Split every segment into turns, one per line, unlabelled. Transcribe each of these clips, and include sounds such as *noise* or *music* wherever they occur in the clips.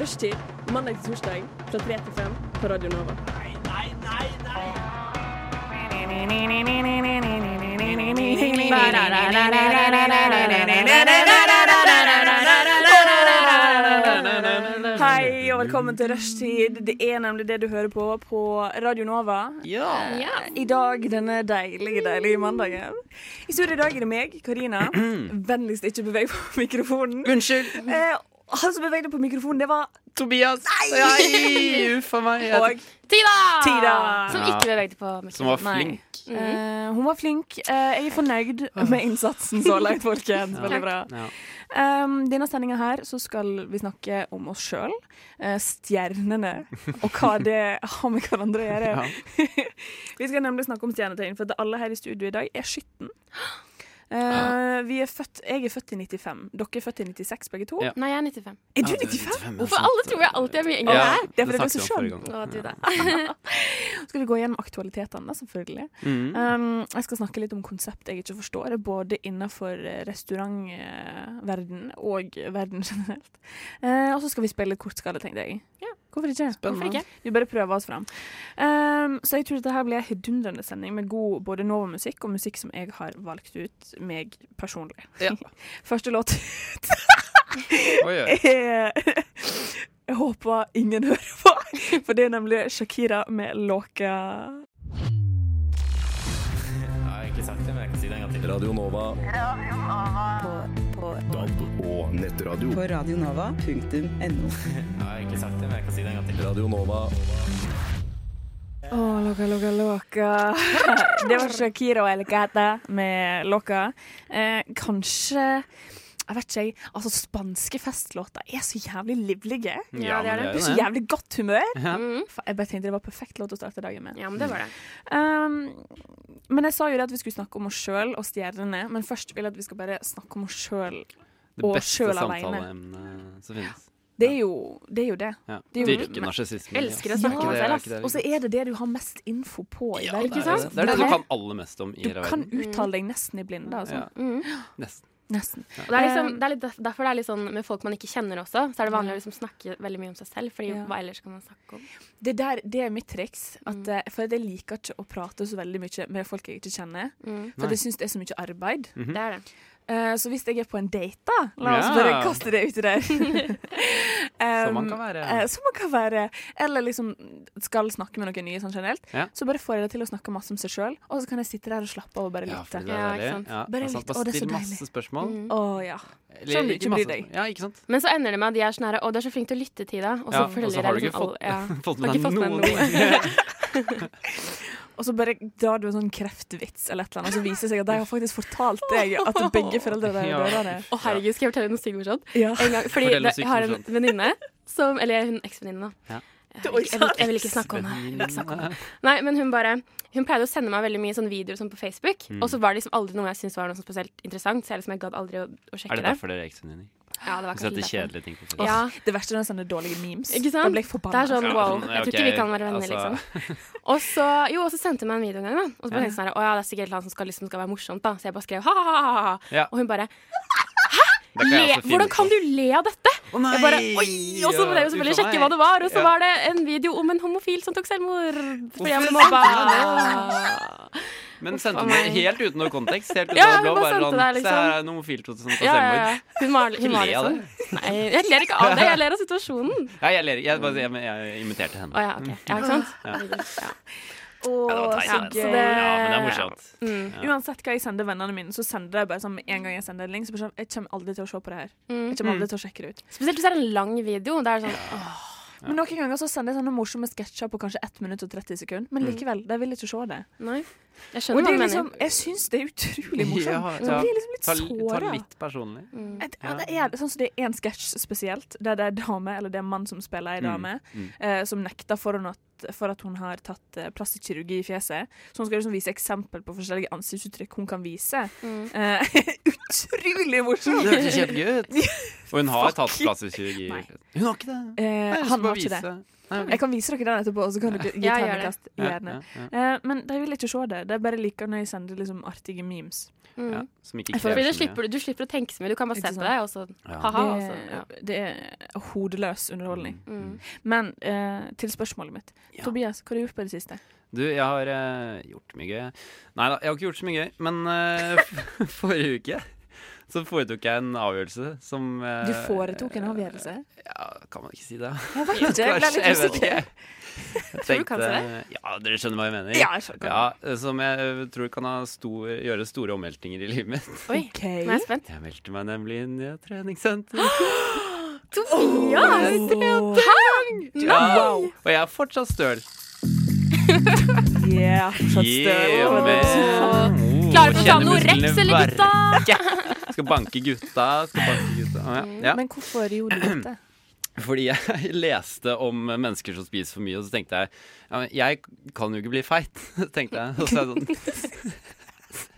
Rushtid mandag til torsdag fra 3 til 5 på Radio Nova. Hei og velkommen til Rushtid. Det er nemlig det du hører på på Radio Nova.
Ja.
I dag denne deilige, deilige mandagen. I studio i dag er det meg,
*clears throat*
Karina. Vennligst ikke beveg på mikrofonen.
Unnskyld,
Eh, han som bevegde på mikrofonen, det var
Tobias. Nei, uff a meg. Jeg-
og
Tida!
Tida!
Som
Ja.
ikke bevegde på mikrofonen.
Som var
Nei.
flink.
Eh, hun var flink. Eh, jeg er fornøyd med innsatsen så langt, folkens. Veldig bra.
Ja.
Um, denne sendinga her så skal vi snakke om oss sjøl, eh, stjernene, og hva det har med hverandre å gjøre.
Ja.
vi skal nemlig snakke om stjernetegn, for at alle her i studio i dag er skitten. Eh, vi er født, jeg er født i 95. Dere er født i 96, begge to.
Ja.
Nei, jeg er 95.
Er du
Ja, det er
95?
95, ja,
Hvorfor
sant.
alle tror jeg alltid er mye yngre enn
Ja,
jeg er?
Det er fordi du er så
snakket vi om forrige gang.
Å, du da.
Skal vi gå gjennom aktualitetene, selvfølgelig.
Mhm.
Um, jeg skal snakke litt om konsept jeg ikke forstår, både innenfor eh, restaurantverden og verden *laughs* generelt. Eh, og så skal vi spille litt kortskade, tenkte jeg.
Ja.
Hvorfor ikke?
Hvorfor ikke?
Vi bare prøver oss fram. Um, så jeg tror dette her blir en hedundrende sending med god både Nova-musikk og musikk som jeg har valgt ut meg personlig.
Ja.
*laughs* Første låt
Oi, oi.
er *laughs* Jeg håper ingen hører på, for det er nemlig Shakira med låka
Jeg har ikke sagt det, men jeg kan si det en gang til.
Radio Nova. DAB og nettradio.
på radionova.no.
Jeg har ikke sagt det, men jeg kan si det en gang til.
Radio Nova.
Å, loka, loka, loka.
*laughs*
Det var Shakira og Elicata med loka. Eh, kanskje Jeg vet ikke, jeg. Altså, spanske festlåter er så jævlig livlige.
Ja, det er det.
Det er så jævlig godt humør.
Ja.
Mhm.
Fa- Jeg bare tenkte det var perfekt låt å starte dagen med.
Ja, men det var det.
Um, men jeg sa jo det at vi skulle snakke om oss sjøl og stjernene, men først vil jeg at vi skal bare snakke om oss sjøl.
Det
Og
beste
sjøl alene.
samtaleemnet som finnes.
Det er jo det. Er jo det.
Ja.
Det er jo-
Dyrke narsissisme.
Elsker å snakke
Ja,
om meg
det er
selv,
ikke det.
ass.
Og så er det det du har mest info på i verden.
Ikke sant?
Det er det du kan aller mest om i
Du
hele
kan
verden.
uttale deg nesten i blinde. Altså.
Ja,
Mhm.
nesten.
Nesten.
Og det er liksom,
Eh.
det er litt, derf- derfor det er litt sånn med folk man ikke kjenner også, så er det vanlig å liksom snakke veldig mye om seg selv, Fordi
Ja.
hva ellers kan man snakke om?
Det, der, det er mitt triks. At,
Mm.
eh, For jeg liker ikke å prate så veldig mye med folk jeg ikke kjenner.
Mm.
For jeg syns det er så mye arbeid.
Det er det.
Eh, så hvis jeg er på en date, da La oss
Mm. Ja.
bare kaste det uti der.
*laughs* Som man kan være.
Eh, som man kan være. Eller liksom skal snakke med noen nye sånn generelt.
Ja.
Så bare får jeg det til å snakke masse om seg sjøl, og så kan jeg sitte der og slappe av og bare
Ja,
lytte.
fordi
Å
det er
Ja, ikke
deilig.
sant.
Ja,
Bare
og sant,
litt, å, det er så
still masse
deilig.
spørsmål.
ja.
Eller
Sånn du
ikke
ikke
masse
bryr deg.
spørsmål. Ja, ikke sant?
Men så ender det med at de er sånn her Å, du er så flink til å lytte til deg, og så
Ja, og så
følger
har du
jeg
ikke
liksom
fått-
alle ja.
*laughs* Fått
Har
med
ikke
deg
fått med
noen
noe.
ting.
Og så bare drar du en sånn kreftvits eller et eller annet, og så viser det seg at de har faktisk fortalt deg at
*laughs*
begge foreldrene dine
Ja.
er døde.
Å herregud, skal jeg fortelle noe stygt?
Ja.
En gang, fordi
Fortell noe
det,
sykt
jeg har en
morsomt.
venninne som Eller hun eksvenninne,
Ja.
da. Jeg vil, ikke- jeg, vil, jeg vil ikke snakke om det. Jeg vil ikke snakke om det. Nei, men hun bare Hun pleide å sende meg veldig mye sånn videoer sånn på Facebook,
Mm.
og så var det liksom aldri noe jeg syntes var noe sånn spesielt interessant, så jeg liksom jeg gadd aldri å, å sjekke
Er det
det.
derfor dere er eksvenninner?
Ja, det var kanskje
Hvis det er
litt derfor.
kjedelige ting på
Ja,
Det verste er når jeg sender dårlige memes.
Ikke sant?
Da blir jeg
det
forbanna.
er sånn
Ja,
wow.
sånn,
Jeg tror
ok,
ikke vi kan være venner,
altså.
liksom. Og så, jo, og så sendte hun meg en video en gang, da. Og så bare tenkte jeg sånn her, å ja, det er sikkert et eller annet som skal, liksom, skal være morsomt, da. Så jeg bare skrev ha-ha-ha.
Ja.
Og hun bare
Det kan
le,
jeg også finne
Hvordan kan
på.
du le av dette?
Å nei!
Jeg bare, oi, Og så ble jeg jo selvfølgelig sjekke hva det var, og så
Ja.
var det en video om en homofil som tok selvmord fordi han ble
Hvorfor
mobba.
Men sendte
Å,
hun
nei.
det helt uten noe kontekst? Helt uten
Ja,
ja,
hun
blå,
bare
bare
sendte
sånn,
det,
Se her er en homofil som tar
liksom. Ja, ja,
selvmord.
ja. Hun var, hun
Ikke
var
le av
liksom Nei, jeg ler ikke av det. Jeg ler av situasjonen.
Ja, jeg ler. Jeg, bare, jeg, jeg imiterte henne.
Å ja, OK. Ja, ikke sant? Ja.
Åh,
det var teit,
så gøy.
altså.
det-
Ja, men det er morsomt.
Mm.
Ja.
Uansett hva jeg sender vennene mine, så sender jeg bare sånn med en gang jeg sender en link. Så bare sånn, jeg kommer aldri til å se på det her. Jeg kommer
Mm.
aldri til å sjekke det ut.
Spesielt hvis det er en lang video. Det er det sånn
Men noen ganger så sender jeg sånne morsomme sketsjer på kanskje 1 minutt og 30 sekunder.
Mm.
Men likevel, de vil ikke se det.
Nei. Jeg
Og
skjønner
det
hva
er
du
liksom,
mener.
jeg syns det er utrolig
Ja,
morsomt. Så
ja.
blir jeg liksom litt
Ta, ta
såra.
litt personlig.
Mm.
Et- Ja, det er, sånn som det er en sketsj spesielt, der det er dame, eller det er mann som
Mm.
spiller ei dame, eh, som nekter for, hun at, for at hun har tatt eh, plastisk kirurgi i fjeset. Så hun skal liksom vise eksempel på forskjellige
liksom? Mm,
ansiktsuttrykk hun kan vise. Eh, *laughs* utrolig morsomt!
Det hørtes kjempegøy ut. *laughs* Og hun har
Fuck.
tatt plastikkirurgi.
Nei.
Hun har ikke det.
Eh,
Nei, jeg skal
han
bare
har ikke det.
vise. Nei, ok.
Jeg kan vise dere den etterpå, og så kan dere gi
Ja, gjør det. Mm.
terningkast.
Ja,
Gjerne.
ja, ja,
Eh, men de vil ikke se det. De bare liker når jeg sender liksom artige memes.
Mm.
ja. Som ikke
Jeg føler-
krever
Fordi du,
så mye.
slipper, du slipper å tenke så mye. Du kan bare
Ikke
se på
sant?
deg, og så
Ja.
ha-ha. Og så, altså, ja.
det, det er hodeløs underholdning.
mm.
Men eh, til spørsmålet mitt.
Ja.
Tobias, hva har du gjort på det siste?
Du, jeg har eh, gjort mye gøy. Nei da, jeg har ikke gjort så mye gøy. Men eh, *laughs* f- forrige uke så foretok jeg en avgjørelse som eh,
Du foretok en *laughs* avgjørelse?
Ja, kan man ikke si det?
Jeg vet ikke. Jeg ble
Kanskje,
litt
jeg vet
usikker.
ikke. Jeg
Tror du kan si
tenkte- Ja, dere skjønner hva jeg mener.
Ja, jeg skjønner.
Ja, eh, som jeg eh, tror kan ha stor, gjøre store omveltninger i livet mitt. *laughs*
Oi,
OK.
nå er jeg spent.
Jeg meldte meg nemlig inn i et treningssenter.
*laughs* Tobias!
Oh,
Ja, og jeg er fortsatt støl.
yeah, fortsatt støl.
Yeah, man. Oh,
Klarer du å ta
kjenner
noe
musklene
Rex eller gutta?
verke. Skal banke gutta. Skal banke gutta. Ah, Ja. Ja.
Men hvorfor gjorde du
*clears throat*
dette?
Fordi jeg *laughs* leste om mennesker som spiser for mye, og så tenkte jeg ja, men jeg kan jo ikke bli feit, *laughs* tenkte jeg. Og så, er jeg sånn. *laughs*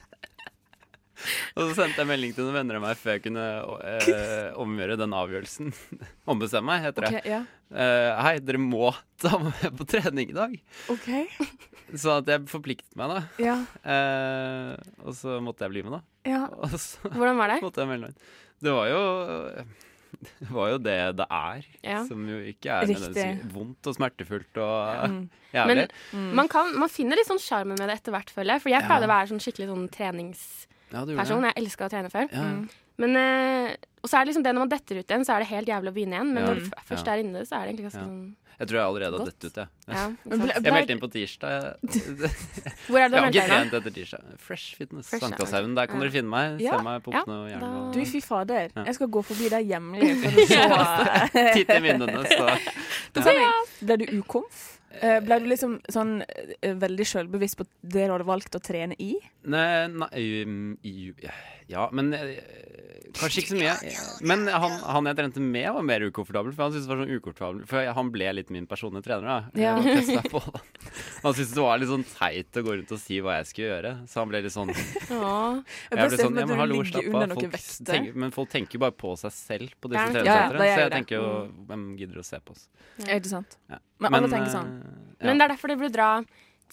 og så sendte jeg melding til noen venner av meg før jeg kunne eh, omgjøre den avgjørelsen. *laughs* Ombestemme meg, heter det.
Ok, ja.
Eh, hei, dere må *laughs* ta meg med på trening i dag.
OK.
Sånn at jeg forpliktet meg, da.
Ja.
Eh, og så måtte jeg bli med, da.
ja.
Og så
Hvordan var det?
måtte jeg melde meg inn. Det var jo *laughs* det var jo det det er,
Ja.
som jo ikke er
Riktig.
nødvendigvis vondt og smertefullt og
Mm.
jævlig.
Men man, kan, man finner litt sånn sjarmen med det etter hvert, føler jeg. Fordi jeg pleide å være sånn skikkelig sånn treningsperson.
ja, du gjorde det.
Jeg elska å trene før.
Ja, ja.
mm.
Men, eh, og så er det liksom det når man detter ut igjen, så er det helt jævlig å begynne igjen. Men
Ja.
når du f- først
Ja.
er inne, så er det egentlig ganske
Ja.
sånn
Jeg tror jeg allerede har
Godt.
dett ut, jeg.
ja,
Men
ikke sant?
ble-
Jeg
ble-
meldte inn på
*laughs*
tirsdag. Jeg,
Hvor er
jeg
det du
har
meldte
ikke
deg inn?
trent etter tirsdag. Fresh Fitness.
Fresh, ja, ok.
Sankthanshaugen. Der kan
Ja.
dere finne meg.
Ja,
Se meg i
ja,
puppene og
da-
jernbanen.
Du, fy fader.
Ja.
Jeg skal gå forbi deg hjemlig
*laughs*
for å se.
Titt i minnene,
*laughs*
så
Ble du ukomf? Eh, Ble du liksom sånn eh, veldig sjølbevisst på det du hadde valgt å trene i?
Nei, nei um, i- Ja, men eh, Kanskje ikke så mye. Men han, han jeg trente med, var mer ukomfortabel. For han syntes det var sånn ukomfortabel For jeg, han ble litt min personlige trener. da
Ja.
Jeg var testet på da. Han syntes det var litt sånn teit å gå rundt og si hva jeg skulle gjøre. Så han ble litt sånn Jeg
Åh.
bare ser
ble
for
sånn,
meg
ja,
at
men
du
hallo,
ligger
slapp
under eh?»
av.
noen
Folk
vekster.
tenker, men folk tenker jo bare på seg selv på disse
Ja, ja,
ja,
treningssentrene.
det
Så
gjør
jeg
det.
tenker jo Hvem gidder å se på oss?
Er det sant?
Ja.
Men alle tenker
eh,
sånn.
ja.
Men det er derfor det burde dra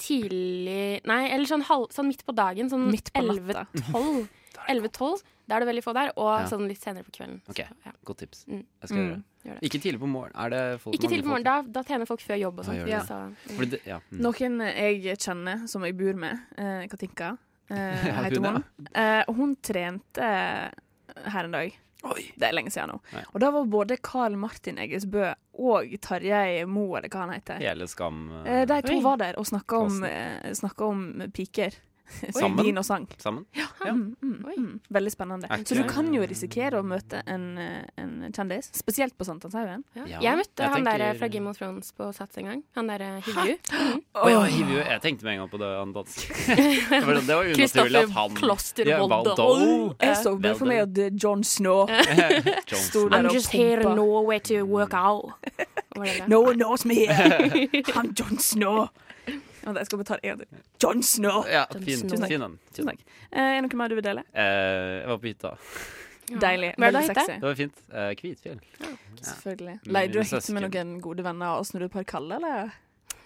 tidlig Nei, eller sånn, halv, sånn midt på dagen.
eh,
Sånn
Midt på natta.
*laughs*
11-12. 11-12, Da er det veldig få der. Og
Ja.
sånn litt senere på kvelden.
Ok,
Ja.
godt tips.
Mm.
Jeg skal
Mm,
gjøre det.
gjør det.
Ikke tidlig på morgenen. Er det folk
Ikke
mange
tidlig på morgenen.
folk-
Da, da trener folk før jobb og
Ja,
sånn.
gjør det.
så,
Fordi det, ja. mm.
Noen jeg kjenner, som jeg bor med, eh, Katinka
*laughs*
eh,
Ja,
heter
hun, ja.
hun. Eh, hun trente eh, her en dag.
Oi.
Det er lenge siden nå.
Ja.
Og da var både Carl Martin Eggesbø og Tarjei Mo, eller hva han heter.
Hele Skam eh,
Eh, De to
Oi.
var der og snakka om,
Klassen.
eh, snakket om piker.
Sammen?
Vin og sang.
sammen? Ja.
Mm, mm,
Oi.
mm. Veldig spennende.
Er ikke-
Så du kan jo risikere å møte en, eh, en kjendis, spesielt på Sankthanshaugen.
ja.
Ja,
Jeg møtte
jeg
han der eh,
tenker-
fra Game of Thrones på Sats en gang. Han der eh, Hivju.
Oi, oi, hiv- jeg tenkte med en gang på det
*laughs*
han danske. Det var sånn, det var unaturlig
Kristoffer
at han Ja,
Klostervolde.
Valdo.
Jeg så bare for meg at eh, Jon Snow sto
Johnson.
der
I'm
og
just here in
pumpa.
Norway to work out. Hva var det *laughs* der?
No one knows me *laughs* here. I'm Jon Snow. Vent, Jeg skal betale en til. Jon Snow!
Ja,
Johnson.
fin,
Tusen takk.
fin den.
Tusen takk. Eh, er det noe mer du vil dele?
Eh, jeg var på hytta.
Ja.
Deilig.
Hva er
Veldig
det det heter?
sexy.
Det var fint. Eh, Kvitfjell.
Selvfølgelig.
Mine
Leide du å hitte med
søsken.
noen gode venner og snudde et par kaller, eller?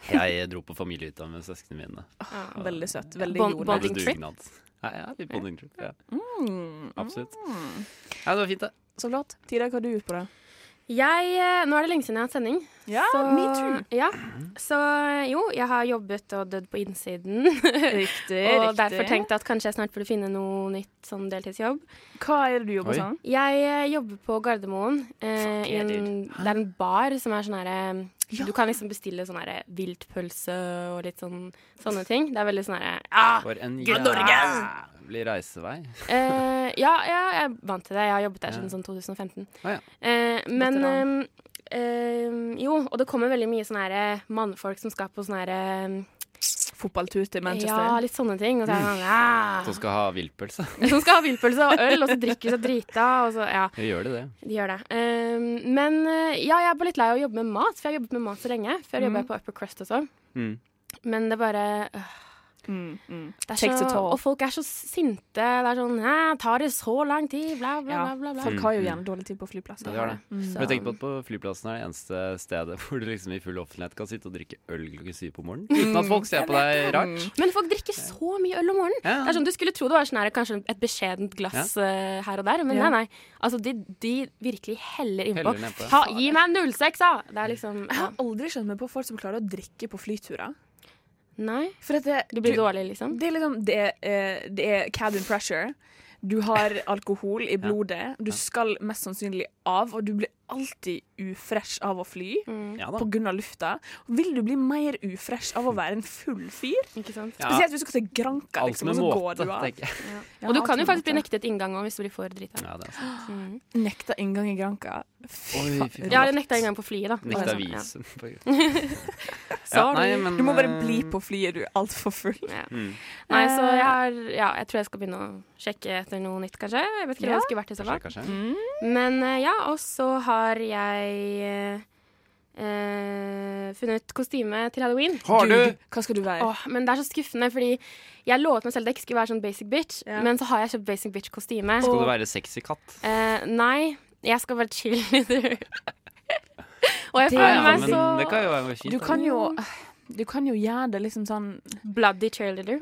Jeg dro på familiehytta med søsknene mine.
Ja.
Veldig søtt. Veldig
Bond-
god.
Hadde
Bonding trip?
dugnad. Ja, ja, litt bonding trip. Ja,
Mm.
absolutt.
Mm.
Ja, det var fint, det.
Så flott. Tida, hva har du gjort på da?
Jeg, eh, nå er det lenge siden jeg har hatt sending.
Ja,
Ah,
så,
me too.
Ja. Så eh, jo, jeg har jobbet og dødd på innsiden. *laughs*
*laughs*
og
Riktig,
derfor tenkte jeg at kanskje jeg snart burde finne noe nytt sånn deltidsjobb.
Hva er det du jobber
Oi.
sånn?
Jeg eh, jobber på Gardermoen. eh, i en, det er en bar som er sånn herre Du kan liksom bestille sånn herre viltpølse og litt sånn sånne ting. Det er veldig sånn herre ah,
For en
Gud, Norge!
jævlig reisevei.
Eh, ja, ja, jeg er vant til det. Jeg har jobbet der siden
Ja.
sånn 2015.
Å, ja.
Eh, men
Veteran.
eh, eh, jo, og det kommer veldig mye sånne her eh, mannfolk som skal på sånne her eh,
Fotballtur til
Ja,
Manchester.
litt sånne ting. Og så er det sånn, ja.
Som skal ha villpølse. *laughs*
Som skal ha villpølse og øl, og så drikker de seg drita. Og så, ja,
Gjør de det?
de gjør det. Eh, men eh, ja, jeg er bare litt lei av å jobbe med mat, for jeg har jobbet med mat så lenge. Før jobbet jeg på Upper Crust også.
Mm.
Men det bare øh,
Mm, mm.
Det er
Takes a
så,
toll.
og folk er så sinte. Det er sånn Hæ, tar det så lang tid? Bla, bla,
Ja,
bla. bla, bla.
Folk
mm.
har jo gjerne dårlig tid på flyplasser.
Ja, det har det.
Mm.
Har du tenkt på at på flyplassen er det eneste stedet hvor du liksom i full offentlighet kan sitte og drikke øl klokken syv på morgenen uten
Mm.
at folk ser på deg rart?
Mm.
Men folk drikker så mye øl om morgenen.
Ja.
Det er sånn, Du skulle tro det var sånn her, kanskje et beskjedent glass eh, her og der, men
Ja.
nei, nei. Altså, de, de virkelig heller innpå.
Heller nedpå.
Ta, gi meg 06, da! Det er liksom
Jeg
ja.
har aldri skjønt meg på folk som klarer å drikke på flyturer.
Nei,
For at det,
du blir dårlig, liksom.
Det er liksom det, eh, det er cabin pressure. Du har
*laughs*
alkohol i blodet. Du skal mest sannsynlig av, og du blir alltid ufresh av å fly.
Ja da.
På grunn av lufta. Vil du bli mer ufresh av å være en full fyr?
Ikke sant?
Ja.
Spesielt hvis du skal til Granca,
Alt
liksom, og
med
så går
måte,
du av.
tenker jeg.
Ja,
Og du
alt
kan jo
med
faktisk bli
måte.
nektet inngang òg hvis du blir for Mm. drita.
Ja, det er sant.
nekta inngang i Granca. Fy
Oi,
faen.
fy faen.
Ja, eller nekta inngang på flyet, da.
Nekta
Bare sånn, ja.
visum.
*laughs*
Sorry.
Du må bare
eh,
bli på flyet, du er altfor full.
Ja.
Mm.
Nei, så
Eh.
jeg har Ja, jeg tror jeg skal begynne å sjekke etter noe nytt, kanskje. Jeg vet ikke hva det skulle vært i så fall.
Kanskje.
Mm.
Men eh, ja, og så har jeg eh, funnet kostyme til halloween.
Har du?
Gud, Hva skal du være?
Åh, men det er så skuffende, fordi jeg lovet meg selv at jeg ikke skulle være sånn basic bitch,
Ja.
men så har jeg kjøpt basic bitch-kostyme.
Skal du være sexy katt?
Eh, nei, jeg skal være cheerleader. *laughs* og jeg
Det-
føler
Ja,
meg
men
så
det kan jo være fint.
Du
da.
kan jo du kan jo gjøre det liksom sånn
bloody cheerleader.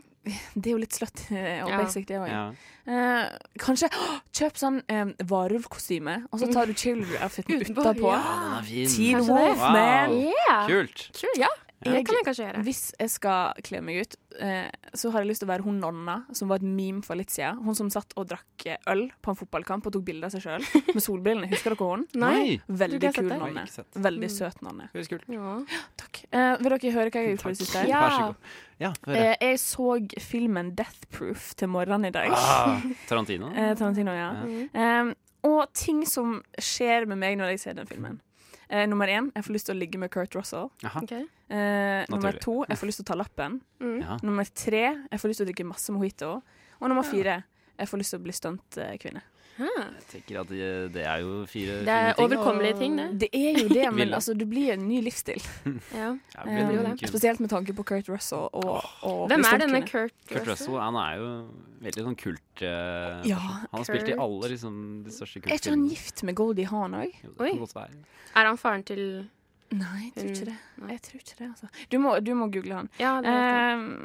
Det er jo litt sløtt eh, og
Ja.
basic, det òg.
ja.
Eh, kanskje åh, kjøp sånn um, varulvkostyme, og så tar du cheerleader-outfiten
Utenpå,
utapå.
ja, den er fin.
Ah, Teen
Kanskje det.
Wolf, man!
Yeah.
Kult.
Kul, ja. Det kan jeg kanskje gjøre.
Hvis jeg skal kle meg ut, eh, så har jeg lyst til å være hun nonna som var et meme for litt siden. Hun som satt og drakk eh, øl på en fotballkamp og tok bilde av seg sjøl med solbrillene. Husker dere hun?
Nei.
Tror ikke
Veldig
jeg har
kul
sett det.
Nei,
nonne.
ikke sett.
Veldig søt nonne.
Høres kult.
Ja.
Takk. Eh, vil dere høre hva jeg har gjort på det siste?
Ja.
Vær så god. Ja, få høre.
Eh, jeg så filmen 'Death Proof' til morgenen i dag.
Ah,
*laughs*
Tarantino?
Eh, Tarantino, ja.
Mm,
Eh, og ting som skjer med meg når jeg ser den filmen. Eh, nummer én, jeg får lyst til å ligge med Kurt Russell.
Ok. Mm.
Eh, nummer
Naturlig.
to, jeg får lyst til å ta lappen.
Ja.
Nummer tre, jeg får lyst til å drikke masse mojito. Og nummer fire, jeg får lyst til å bli stuntkvinne.
Jeg tenker at det, det er jo fire
Det
fine
er
ting.
overkommelige ting, det.
Det er
*laughs*
jo det, men
Ville.
altså, det blir en ny livsstil.
Ja.
Ja, det
Eh,
blir jo det.
spesielt med tanke på Kurt Russell og, og
Hvem
bli
er denne
stuntkvinne.
Kurt,
Kurt Russell han er jo veldig sånn kult eh,
Ja,
person. Han har spilt i
Kurt.
alle liksom, de største
Er ikke han
kultfilmene.
gift med Goldie Hawn òg?
Jo, det kan
Oi.
godt være.
Er han faren til
Nei, jeg tror ikke
Mm,
det. Jeg tror ikke det altså. du, må, du må google han.
Ja, det vet jeg.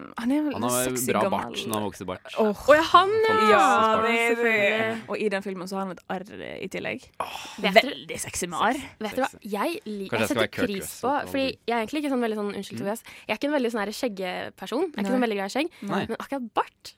Eh, han er vel
Han har
sexy
bra
gammel.
bart når han vokser bart.
Åh,
Å ja, han, ja!
Ja, det er
Fantastisk
det.
Selvfølgelig.
Og i den filmen så har han et arr i tillegg.
Vet dere-
Veldig sexy med arr.
Vet du hva, jeg, li- jeg
Kanskje jeg skal
setter
være Kurt
pris
Russell
på
på
Fordi
Halloween.
jeg er egentlig ikke sånn veldig sånn Unnskyld, Tobias. Jeg er ikke en veldig sånn her skjeggeperson. Jeg er ikke
Nei.
sånn veldig glad i skjegg.
Nei.
Men akkurat bart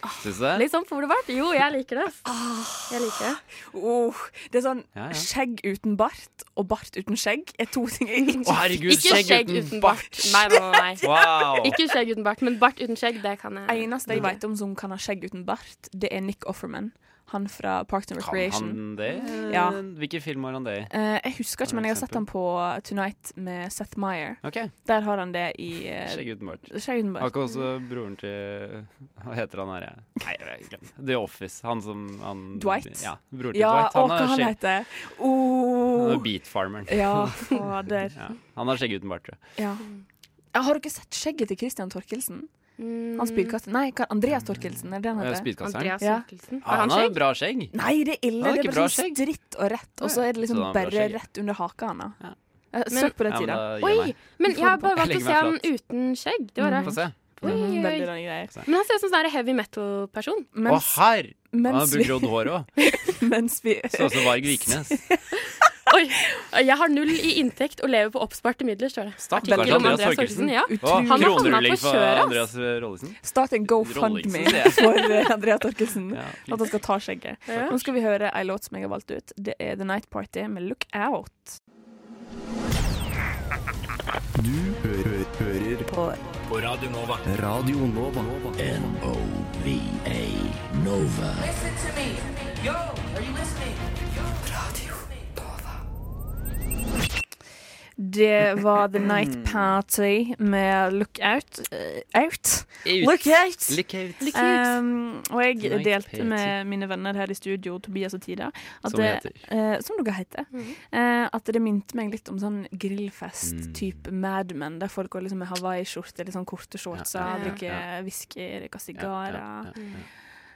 Syns du det?
Litt sånn folebart. Jo, jeg liker det.
Ah.
ass. Jeg liker det.
Oh, det er sånn
Ja, ja.
skjegg uten bart og bart uten skjegg er to ting jeg
Å,
ikke
herregud,
Ikke skjegg uten bart. Nei, nei, nei. nei.
Wow!
Ikke skjegg uten bart, men bart uten skjegg, det kan jeg.
Eneste jeg vet om som kan ha skjegg uten bart, det er Nick Offerman. Han fra Parks and
Kan
Recreation.
han det?
Ja.
Hvilken film har han det i?
Eh, jeg husker ikke, men jeg har sett han
Eksempel.
på Tonight med Seth Meyer.
OK,
Der har han det i eh,
skjegg uten bart.
skjegg Eh, uten
Har
bart.
ikke også broren til Hva heter han her? ja? Nei, jeg glemmer. The Office. Han som han,
Dwight?
Ja, broren til
Ja,
Dwight.
og
Han
hva
er,
han
skjegg,
heter
han er
oh.
Beat Farmeren. *laughs*
Ja, fader.
Ja, han har skjegg uten bart, tror jeg.
Ja. Ja, Har dere sett skjegget til Christian Torkelsen?
Mm,
Han spydkaster Nei, hva- Andreas Torkelsen, er det han
Eh,
heter?
Spydkasteren.
Andreas
Ja.
Mikkelsen.
Ja, Ah,
Har
han
han
har jo
skjegg?
bra skjegg.
Nei, det er ille.
Han har
Det er bare
ikke bra
sånn
skjegg.
stritt og rett, og så
Nei,
er det
så han
liksom
har bra
bare
skjegg.
rett under haka han har.
Ja.
Eh,
Men-
Søk på det
Ja, men
tida.
da gir jeg
Oi!
meg.
Men jeg har bare
Jeg
valgt å
legger
se
meg
han
flat.
uten skjegg. Det var
Få
rart.
se.
Oi,
Mm,
oi,
Veldig
oi.
rare greier.
Men han ser ut som en sånn der heavy metal-person.
Å,
Mens,
herr! Han har
mens,
brukt
vi,
grått hår òg.
*laughs* mens vi
*laughs* Så også Varg Viknes.
Oi! Jeg har null i inntekt og lever på oppsparte midler, står det.
Stakkars
Artikkel om
Andreas
Andreas
Thorkildsen.
Thorkildsen, ja.
Å,
Utrolig.
Han har havna
Kronrulling
på
for
kjøret, ass.
Andreas eh, Rollesen.
Start en
Rolling,
GoFundMe *laughs*
så det er-
for eh, Andreas Torkelsen.
Ja,
At han skal ta skjegget.
Ja.
Nå skal vi høre ei låt som jeg har valgt ut. Det er The Night Party med Look Out.
Du hører, hører på Radio Nova. N-O-V-A Nova.
Det var The Night Party med Lookout. eh, out.
Ut.
Lookout!
Look out.
Um, og jeg
Night
delte
Party.
med mine venner her i studio, Tobias og Tida, at
Som
det,
heter.
eh, som dere heter,
Mm.
eh, at det minte meg litt om sånn grillfest-type Mad Men, der folk går liksom med hawaiiskjorte, litt sånn korte shortser,
Ja, ja, ja.
drikker whisky, røyker sigarer. Ja,
Ja, ja, ja.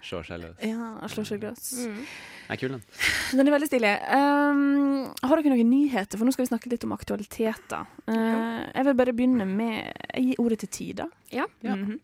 Slår seg løs.
slår seg løs.
Mm.
Er kul, den.
Den er veldig stilig. Um, har dere noen nyheter? For nå skal vi snakke litt om aktualiteter. Eh, jeg vil bare begynne med Jeg gir ordet til Tida.
Ja.
Mhm.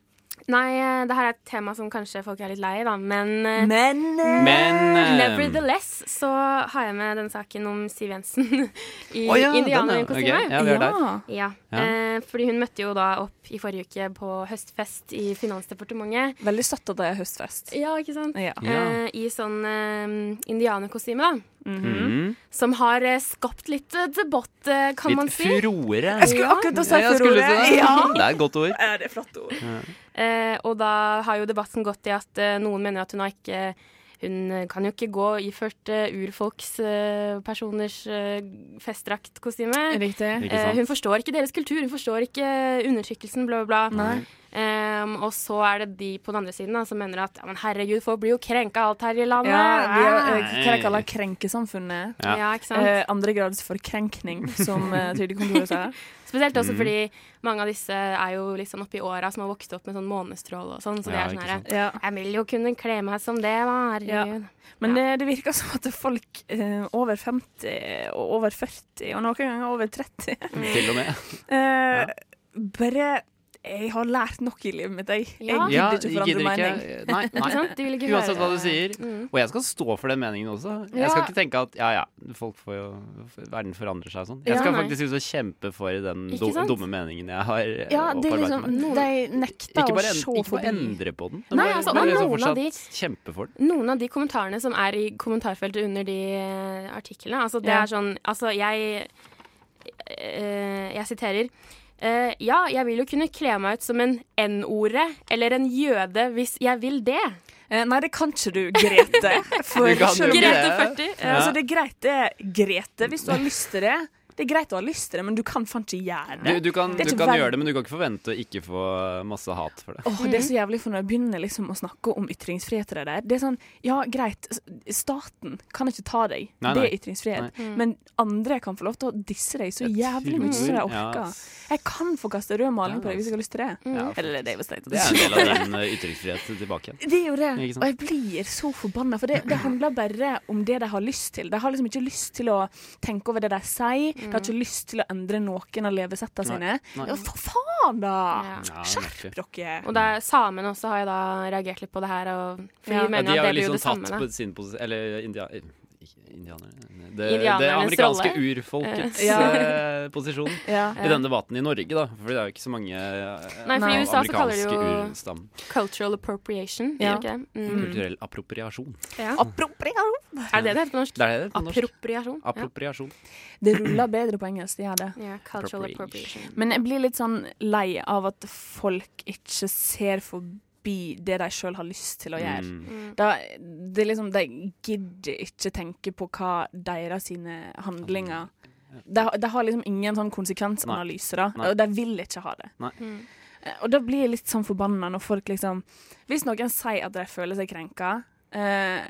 Nei, eh, det her er et tema som kanskje folk er litt lei, da, men eh,
Men eh,
Men eh,
Nevertheless så har jeg med den saken om Siv Jensen *laughs* i
Å ja, den,
indianerkostyme.
ok. Ja, vi er der.
Ja,
Ja.
Eh, fordi hun møtte jo da opp i forrige uke på høstfest i Finansdepartementet.
Veldig søtt at det er høstfest.
Ja, ikke sant?
Ja.
Ja.
Eh, I sånn eh, indianerkostyme, da.
Mhm.
Mm.
Som har eh, skapt litt eh, debatt, eh, kan man
Litt
si.
furore.
Jeg skulle akkurat til å si
Ja, jeg skulle
furore.
si det.
Ja.
Det er et godt ord.
Er det er flott ord?
Eh, og da har jo debatten gått i at eh, noen mener at hun har ikke hun eh, kan jo ikke gå iført eh, urfolkspersoners festdraktkostyme.
*laughs* Riktig.
Ikke sant?
Eh, hun forstår ikke deres kultur, hun forstår ikke undertrykkelsen, bla, bla, bla. Em, og så er det de på den andre siden da, som mener at ja, men herregud, folk blir jo krenka alt her i landet. Ah.
Ja, vi er, eh,
Nei.
hva de kaller krenkesamfunnet.
Ja.
Ja, ikke sant?
Eh, andre grads forkrenkning, som *laughs* eh, Trygdekontoret sa.
Spesielt
Mm.
også fordi mange av disse er jo litt sånn oppi åra som har vokst opp med sånn månestråle og sånn. Så
Ja,
det er sånn
ikke
her
sant.
Ja.
Jeg vil jo kunne kle meg som det, da. Herregud.
Men eh, det, det virker som at folk eh, over 50 og over 40, og noen ganger over 30
Til og med.
eh, Bare Jeg har lært nok i livet mitt, jeg. Jeg
Ja.
gidder
Ja,
ikke forandre mening.
Nei,
Ikke
nei.
sant? De vil ikke
Uansett hva
høre-
du sier.
Mm.
Og jeg skal stå for den meningen også.
Ja.
Jeg skal ikke tenke at ja, ja, folk får jo Verden forandrer seg og sånn. Jeg
Ja,
skal
nei.
faktisk ut og kjempe for den
Ikke
du-
sant?
dumme meningen jeg har eh,
Ja, det er
opparbeidet
liksom,
meg.
de nekter
Ikke
å
bare, en,
se
ikke bare
forbi.
endre på den.
Nei,
bare-
altså,
bare
og
liksom
noen av de-
fortsatt kjempe for den.
Noen av de kommentarene som er i kommentarfeltet under de eh, artiklene, altså det
Ja.
er sånn Altså, jeg eh, Jeg siterer. eh, ja, jeg vil jo kunne kle meg ut som en N-orde eller en jøde hvis jeg vil det.
Eh, nei, det kan ikke *laughs* du, Grete. For
Du kan
selv om du-
jo
Grete
det.
40.
Ja. Altså, det er greit, det er Grete, hvis du har lyst til det. Det er greit å ha lyst til det, men du kan faen ikke gjøre
Du,
det.
du kan,
Det er
du
ikke
kan
verden.
gjøre det, men du kan ikke forvente å ikke få masse hat for det.
Åh, det er så jævlig for når jeg begynner liksom å snakke om ytringsfrihet og det der. Det er sånn, ja greit, s- staten kan ikke ta deg,
Nei,
det
nei.
er ytringsfrihet.
Mm.
Men andre kan få lov til å disse deg så jævlig mye som de
tror-
orker.
ja.
Jeg kan få kaste rød maling
Ja,
på deg hvis jeg har lyst til det.
Mm.
Ja,
Eller det er jo strengt.
Det er en del av din eh, ytringsfrihet tilbake igjen.
Det er jo det.
Ikke sant?
Og jeg blir så forbanna, for det, det handler bare om det de har lyst til. De har liksom ikke lyst til å tenke over det de sier. De har ikke lyst til å endre noen av levesettene sine.
Nei.
Ja, for faen, da!
Ja.
Ja, merkelig.
Skjerp dere!
Og det er samene også har jeg da reagert litt på det her, og for
Ja.
de mener jo
ja, de
at
har
det blir
liksom
jo det samme. Da.
tatt på sin posisjon Eller india, eh, ikke indianerne Det, det
Indianernes
amerikanske
rolle.
urfolkets
Ja.
*laughs* eh, posisjon
Ja.
i denne debatten i Norge, da. For det er jo ikke så mange eh,
Nei, for i
av
USA så kaller de
amerikanske
jo-
urstam.
Cultural appropriation.
Ja.
ikke det? Mm.
Kulturell appropriasjon.
Appropriasjon!
Er det det heter på norsk?
Det er det det heter på norsk.
Appropriasjon. Ja.
Appropriasjon.
Det ruller bedre på engelsk, det gjør det.
Ja, cultural
Appropriation.
appropriation.
Men jeg blir litt sånn lei av at folk ikke ser forbi det de sjøl har lyst til å
Mm.
gjøre.
sånn-
Mm.
Da, det er liksom, de gidder ikke tenke på hva deres sine handlinger de, har- de har liksom ingen sånn konsekvensanalyse, da,
Nei.
og de vil ikke ha det.
Nei.
Mm.
Eh, Og da blir jeg litt sånn forbanna når folk liksom Hvis noen sier at de føler seg krenka, eh,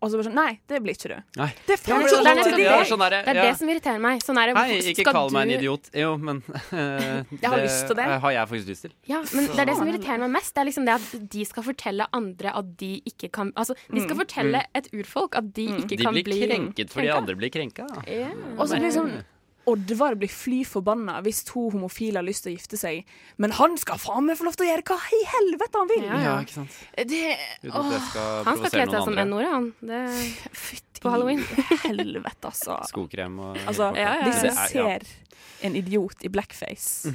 og så bare sånn Nei, det blir ikke du.
Nei.
Det er faen
Ja, men
ikke
det er
lov til
nettopp det.
deg!
Ja, sånn er det.
Det er
Ja.
det som irriterer meg. Sånn er det.
Hei,
Hvorfor
ikke
skal
kall meg
du-
en idiot. Jo, men *laughs* eh,
Jeg har lyst til det.
eh, har jeg faktisk lyst til.
Ja, men det er det som
Sånn.
irriterer meg mest. Det er liksom det at de skal fortelle andre at de ikke kan Altså, de skal fortelle et urfolk at de ikke
Mm. De
kan
blir
bli
krenket fordi andre blir krenka.
Ja.
Og så liksom Oddvar blir fly forbanna hvis to homofile har lyst til å gifte seg, men han skal faen meg få lov til å gjøre hva i helvete han vil!
Ja, ja.
ikke sant.
Det
Uten at det skal
Han skal
provosere
kle seg
noen
som
andre.
n-ordet, han. Det...
Fytti
På Halloween.
helvete, altså.
*laughs* Skokrem og
altså
hele
ja, ja, ja.
pakka.
De
Det
som
er- ja.
ser en idiot i blackface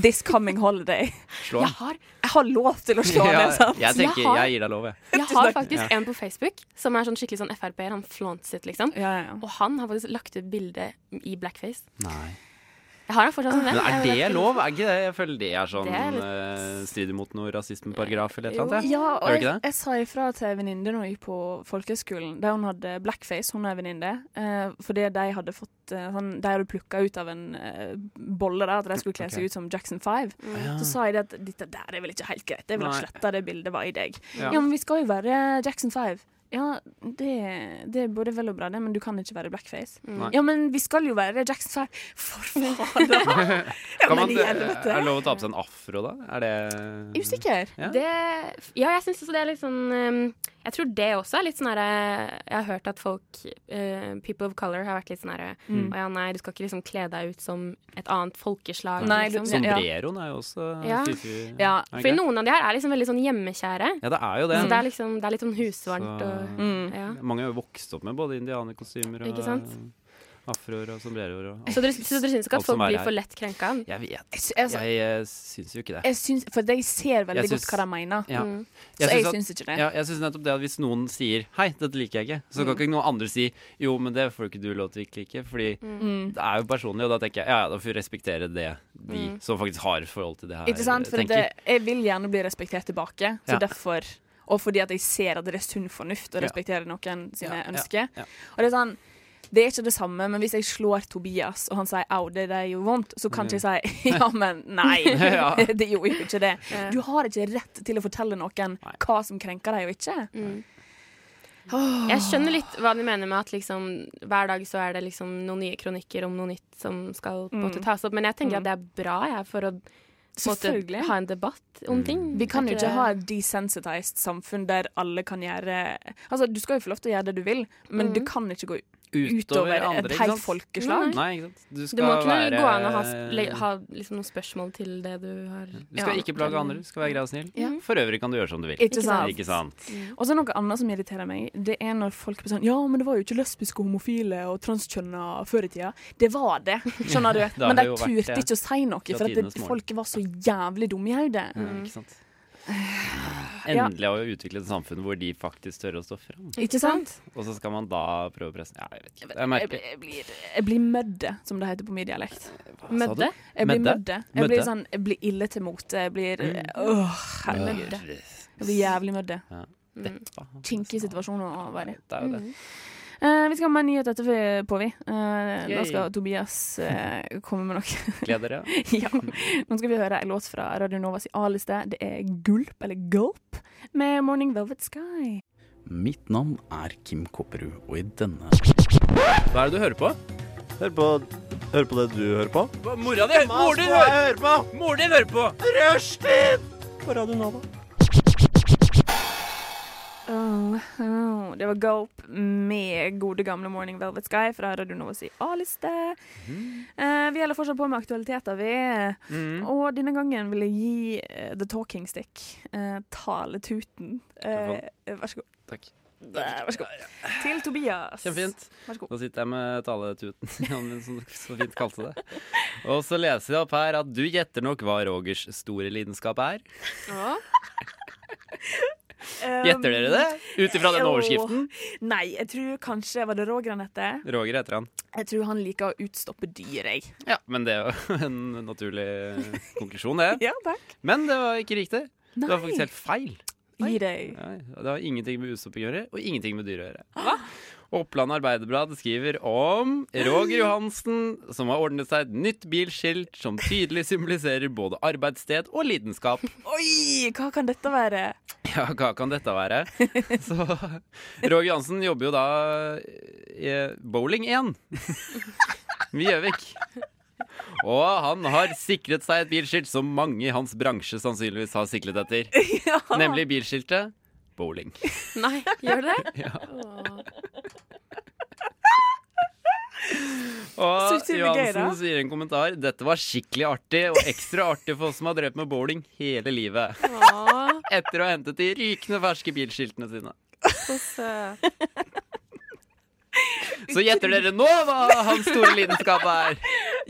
this coming holiday
Slå
Jeg
han.
har,
Jeg har lov til å slå ned, sant?
jeg tenker,
Jeg har-
jeg gir deg lov, jeg.
jeg har faktisk en på Facebook som er sånn skikkelig sånn Frp-er. Han flaunset, liksom.
Ja, ja, ja.
Og han har faktisk lagt ut bilde i blackface.
Nei.
Jeg har han fortsatt som venn.
Men er
jeg vet
det
ikke.
lov? Er ikke det? Jeg føler det er sånn
Det er litt-
eh, strider mot noe rasismeparagraf eller et
Jo,
eller annet.
Ja, og
Gjør
jeg,
ikke det?
jeg sa ifra til en venninne når jeg gikk på folkehøyskolen, der hun hadde blackface, hun er en venninne, eh, fordi de hadde fått eh, sånn, De hadde plukka ut av en eh, bolle der at de skulle kle
Ok.
seg ut som Jackson 5.
Mm.
Ja. *laughs*
Så sa jeg det at dette der er vel ikke helt greit, jeg ville
Nei.
sletta det bildet var i deg.
Ja.
Ja, men vi skal jo være Jackson 5. Ja, det, det er både vel og bra, det, men du kan ikke være blackface.
Nei.
Ja, men vi skal jo være Jackson 5. *laughs* For faen, da! Ja,
Kan
men
man,
i
er
helvete.
det lov å ta på seg en afro, da? Er det
Usikker.
Ja.
Det, ja, jeg syns også det er litt sånn ehm, Jeg tror det også er litt sånn herre Jeg har hørt at folk, eh, people of color, har vært litt sånn herre
Mm.
Mm.
Å ja, nei, du skal ikke liksom kle deg ut som et annet folkeslag,
Nei, du-
liksom.
ja.
Sombreroen er jo også
Ja.
fy-fy.
Ja,
Er det
Fordi
ikke?
noen av de her er liksom veldig sånn hjemmekjære.
Ja, det er jo det.
Så det er liksom Det er litt sånn husvarmt
Så-
og
Mm.
ja.
Mange har jo vokst opp med både indianerkostymer og
Ikke sant? Altså,
afroer og sombreroer og
Så dere, så dere syns ikke at folk
Alt som er
blir
her.
for lett krenka?
Jeg vet
Jeg, sy- altså,
Jeg eh, syns jo ikke det.
jeg syns For jeg ser veldig
Jeg syns-
godt hva de mener.
Ja.
Mm.
Så jeg
at-
syns ikke det.
ja, jeg syns nettopp det at hvis noen sier 'hei, dette liker jeg ikke', så kan ikke noen andre si 'jo, men det får ikke du lov til å ikke like', fordi
Mm.
det er jo personlig, og da tenker jeg ja, ja, da får vi respektere det de som faktisk har forhold til det her,
Ikke sant? For
tenker.
det, jeg vil gjerne bli respektert tilbake, så
Ja.
derfor Og fordi at jeg ser at det er sunn fornuft å
Ja.
respektere noen sine
Ja, ja,
ønsker.
ja.
Og det er sånn det er ikke det samme, men hvis jeg slår Tobias, og han sier 'au, det der gjorde vondt', så kan ikke jeg si *laughs* 'ja, men nei,
Mm. *laughs*
*laughs*
Ja.
det gjorde jo ikke det'. Du har ikke rett til å fortelle noen
Nei.
hva som krenker deg og ikke.
Mm. Jeg skjønner litt hva de mener med at liksom, hver dag så er det liksom noen nye kronikker om noe nytt som skal på en
Mm.
måte tas opp, men jeg tenker at det er bra jeg, for å på en måte,
Selvfølgelig.
ha en debatt om ting.
Vi kan jo
Er
ikke
det-
ha et desensitized samfunn der alle kan gjøre Altså, du skal jo få lov til å gjøre det du vil, men det kan ikke gå utover et
ikke
helt
sant?
folkeslag.
Nei, ikke sant. Du skal
Det må kunne
være
gå an å ha, sp- le- ha liksom noen spørsmål til det du har
Du skal
Ja.
ikke plage andre, du skal være grei og snill.
Ja.
For øvrig kan du gjøre som du vil.
Ikke sant?
Ikke sant?
Mm.
Og så er det noe annet som irriterer meg. Det er når folk blir sånn Ja, men det var jo ikke lesbiske, homofile og transkjønna før i tida. Det var det, skjønner du.
har
Men de
*laughs* det jo vært
turte
det.
ikke å si noe,
Fra
for at
tidenes
det,
morgen.
folk var så jævlig dumme i hodet.
Ikke sant? Endelig har vi utviklet et samfunn hvor de faktisk tør å stå fram.
Ikke sant?
Og så skal man da prøve å presse Ja, jeg vet ikke. Det er merkelig.
Jeg blir, jeg blir mødde, som det heter på min dialekt.
Mødde?
Jeg blir
Mødde?
mødde. Jeg blir
Mødde? Mm.
sånn, jeg blir ille til mote. Jeg blir Åh, herregud. Jeg blir jævlig mødde.
Mm.
Dette.
Kinkige situasjoner å være i.
Det er jo det.
Eh, vi skal ha med en nyhet etterpå, på, vi. Eh, da
Yay.
skal Tobias eh, komme med noe. *laughs*
Gled dere.
ja. Nå skal vi høre en låt fra Radio Novas A-liste. Det er Gulp, eller Gulp, med Morning Velvet Sky.
Mitt navn er Kim Kopperud, og i denne
Hva er det du hører på?
Hør på, hør på det du hører på.
Mora di! Mor din hører på! Mor din hører på!
På Radio Nova.
Oh, oh. Det var Gulp med gode gamle Morning Velvet Sky fra Radio Novas A-liste.
Mhm.
Eh, vi holder fortsatt på med aktualiteter, vi.
Mm. Mhm.
Og denne gangen vil jeg gi eh, The Talking Stick, eh, taletuten, eh, vær så god.
Takk.
Vær så god. Til Tobias.
Kjempefint.
Vær så god.
Da sitter jeg med taletuten, *laughs* som du så fint kalte det. Og så leser jeg opp her at du gjetter nok hva Rogers store lidenskap er.
Mm.
Gjetter dere det? Ut ifra den
Um, Jo.
overskriften.
Nei, jeg tror kanskje Var det Roger han heter?
Roger heter han.
Jeg tror han liker å utstoppe dyr, jeg.
Ja, Men det er jo *laughs* en naturlig konklusjon, det.
Ja, takk.
Men det var ikke riktig. Det var
Nei.
faktisk helt feil.
Gi deg.
Nei, det har ingenting med utstopping å gjøre, og ingenting med dyr å gjøre. Oppland Arbeiderblad skriver om Roger Johansen, som har ordnet seg et nytt bilskilt som tydelig symboliserer både arbeidssted og lidenskap.
Oi, hva kan dette være?
Ja, hva kan dette være? Så Roger Johansen jobber jo da i Bowling 1 ved Gjøvik. Og han har sikret seg et bilskilt som mange i hans bransje sannsynligvis har siklet etter.
Ja.
Nemlig bilskiltet bowling.
Nei, gjør det det?
*laughs* Ja.
Åh.
Så
Og
utrolig gøy, da.
Johansen sier i en kommentar Dette var skikkelig artig og ekstra artig for oss som har drevet med bowling hele livet.
Åh,
Etter å ha hentet de rykende ferske bilskiltene sine.
så søt.
Så gjetter dere nå hva hans store lidenskap er.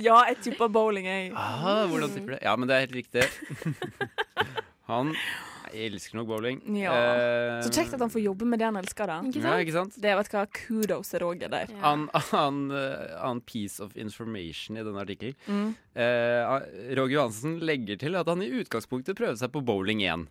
Ja, jeg tipper bowling, jeg.
Ah, hvordan tipper du? Ja, men det er helt riktig. Han jeg elsker nok bowling.
Ja.
Eh,
Så kjekt at han får jobbe med det han elsker, da.
Ikke
Ja,
sant?
ikke sant?
Det vet du hva, Kudos til Roger der.
Ja.
An, an, eh, an piece of information i denne artikkelen.
Mm.
Eh, Roger Johansen legger til at han i utgangspunktet prøvde seg på bowling igjen.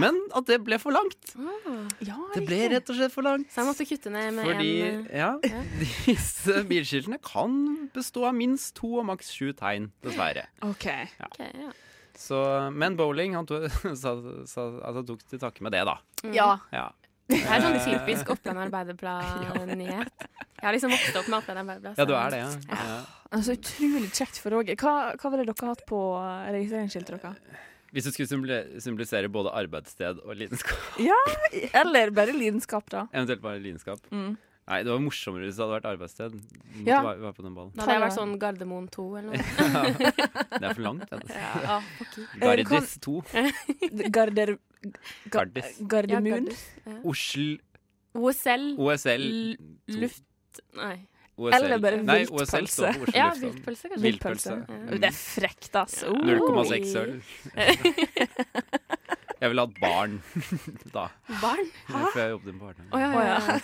Men at det ble for langt.
Ah,
Ja,
Det ble rett og slett for langt.
så jeg måtte kutte ned med
Fordi
en eh,
ja, *laughs* disse bilskiltene kan bestå av minst to og maks sju tegn, dessverre.
OK.
ok, ja.
Så, men bowling, han to, *laughs* sa, sa, altså, tok til takke med det, da.
Mm. Ja.
Ja.
Det er sånn typisk Oppland Arbeiderblad-nyhet. Jeg har liksom vokst opp med Oppland Arbeiderblad.
ja,
så-
du er det, ja. ja.
Altså, utrolig kjekt for Roger. Hva, hva var det dere hatt på eh, registreringsskiltet deres?
Hvis du skulle symboli- symbolisere både arbeidssted og lidenskap,
Eller bare lidenskap, da.
eventuelt bare lidenskap
*laughs* Mm.
Nei, det var morsommere hvis det hadde vært arbeidssted. Du måtte
Ja.
være, være på den ballen.
Da hadde jeg vært sånn Gardermoen 2
*laughs*
eller noe.
Det er for langt. Ja.
Ja, ah, fuck you.
Eh, du Eh, kan-
Gardis 2.
Garder... ga-
Gardis.
Ja,
Gardermoen.
Gardis, ja.
Osl,
OSL,
OSL
L-
to.
luft Nei.
OSL.
Eller bare
Nei,
viltpølse.
OSL liksom. står for Oslo
Ja,
lufthavn.
viltpølse, kanskje.
Viltpølse.
Ja.
Mm. Det er frekt, ass. Oh.
0,6 øl.
*laughs*
Jeg ville hatt barn *laughs* da,
Barn?
før jeg jobbet i en barnehage.
Å ja,
Å,
ja,
ja.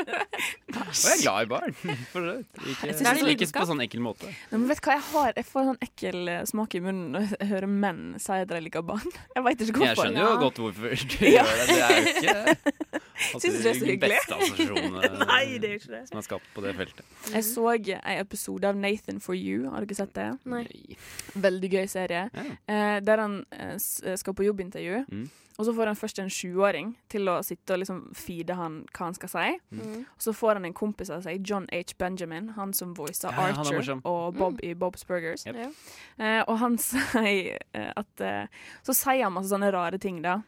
*laughs*
*laughs*
ja.
Og jeg er glad i barn, *laughs* for så vidt. Ikke,
synes det er
ikke
lidenskap.
på sånn enkel måte.
Nei, men vet du hva jeg har? Jeg får sånn ekkel eh, smak i munnen når jeg hører menn si at de liker barn. *laughs* Jeg veit ikke
Jeg
hvorfor.
skjønner jo
Ja.
godt hvorfor du gjør det. Det er jo
*laughs*
ikke sånn, altså, eh, alltid
Synes du det er så
de
hyggelig?
beste assosiasjonene
*laughs* Nei, det er ikke det.
som er skapt på det feltet.
Jeg så en episode av Nathan for you. Har dere sett det?
Nei.
Veldig gøy serie.
Ja.
Eh, der han eh, s- skal på jobbintervju,
Mm.
og så får han først en sjuåring til å sitte og liksom feede han hva han skal si.
Mm.
Og så får han en kompis av seg, John H. Benjamin, han som voicer
Ja, han er
Archer
morsom.
og Bob i Bob's Burgers.
Yep.
Ja.
Eh, og han *laughs* sier eh, at eh, Så sier han masse sånne rare ting, da.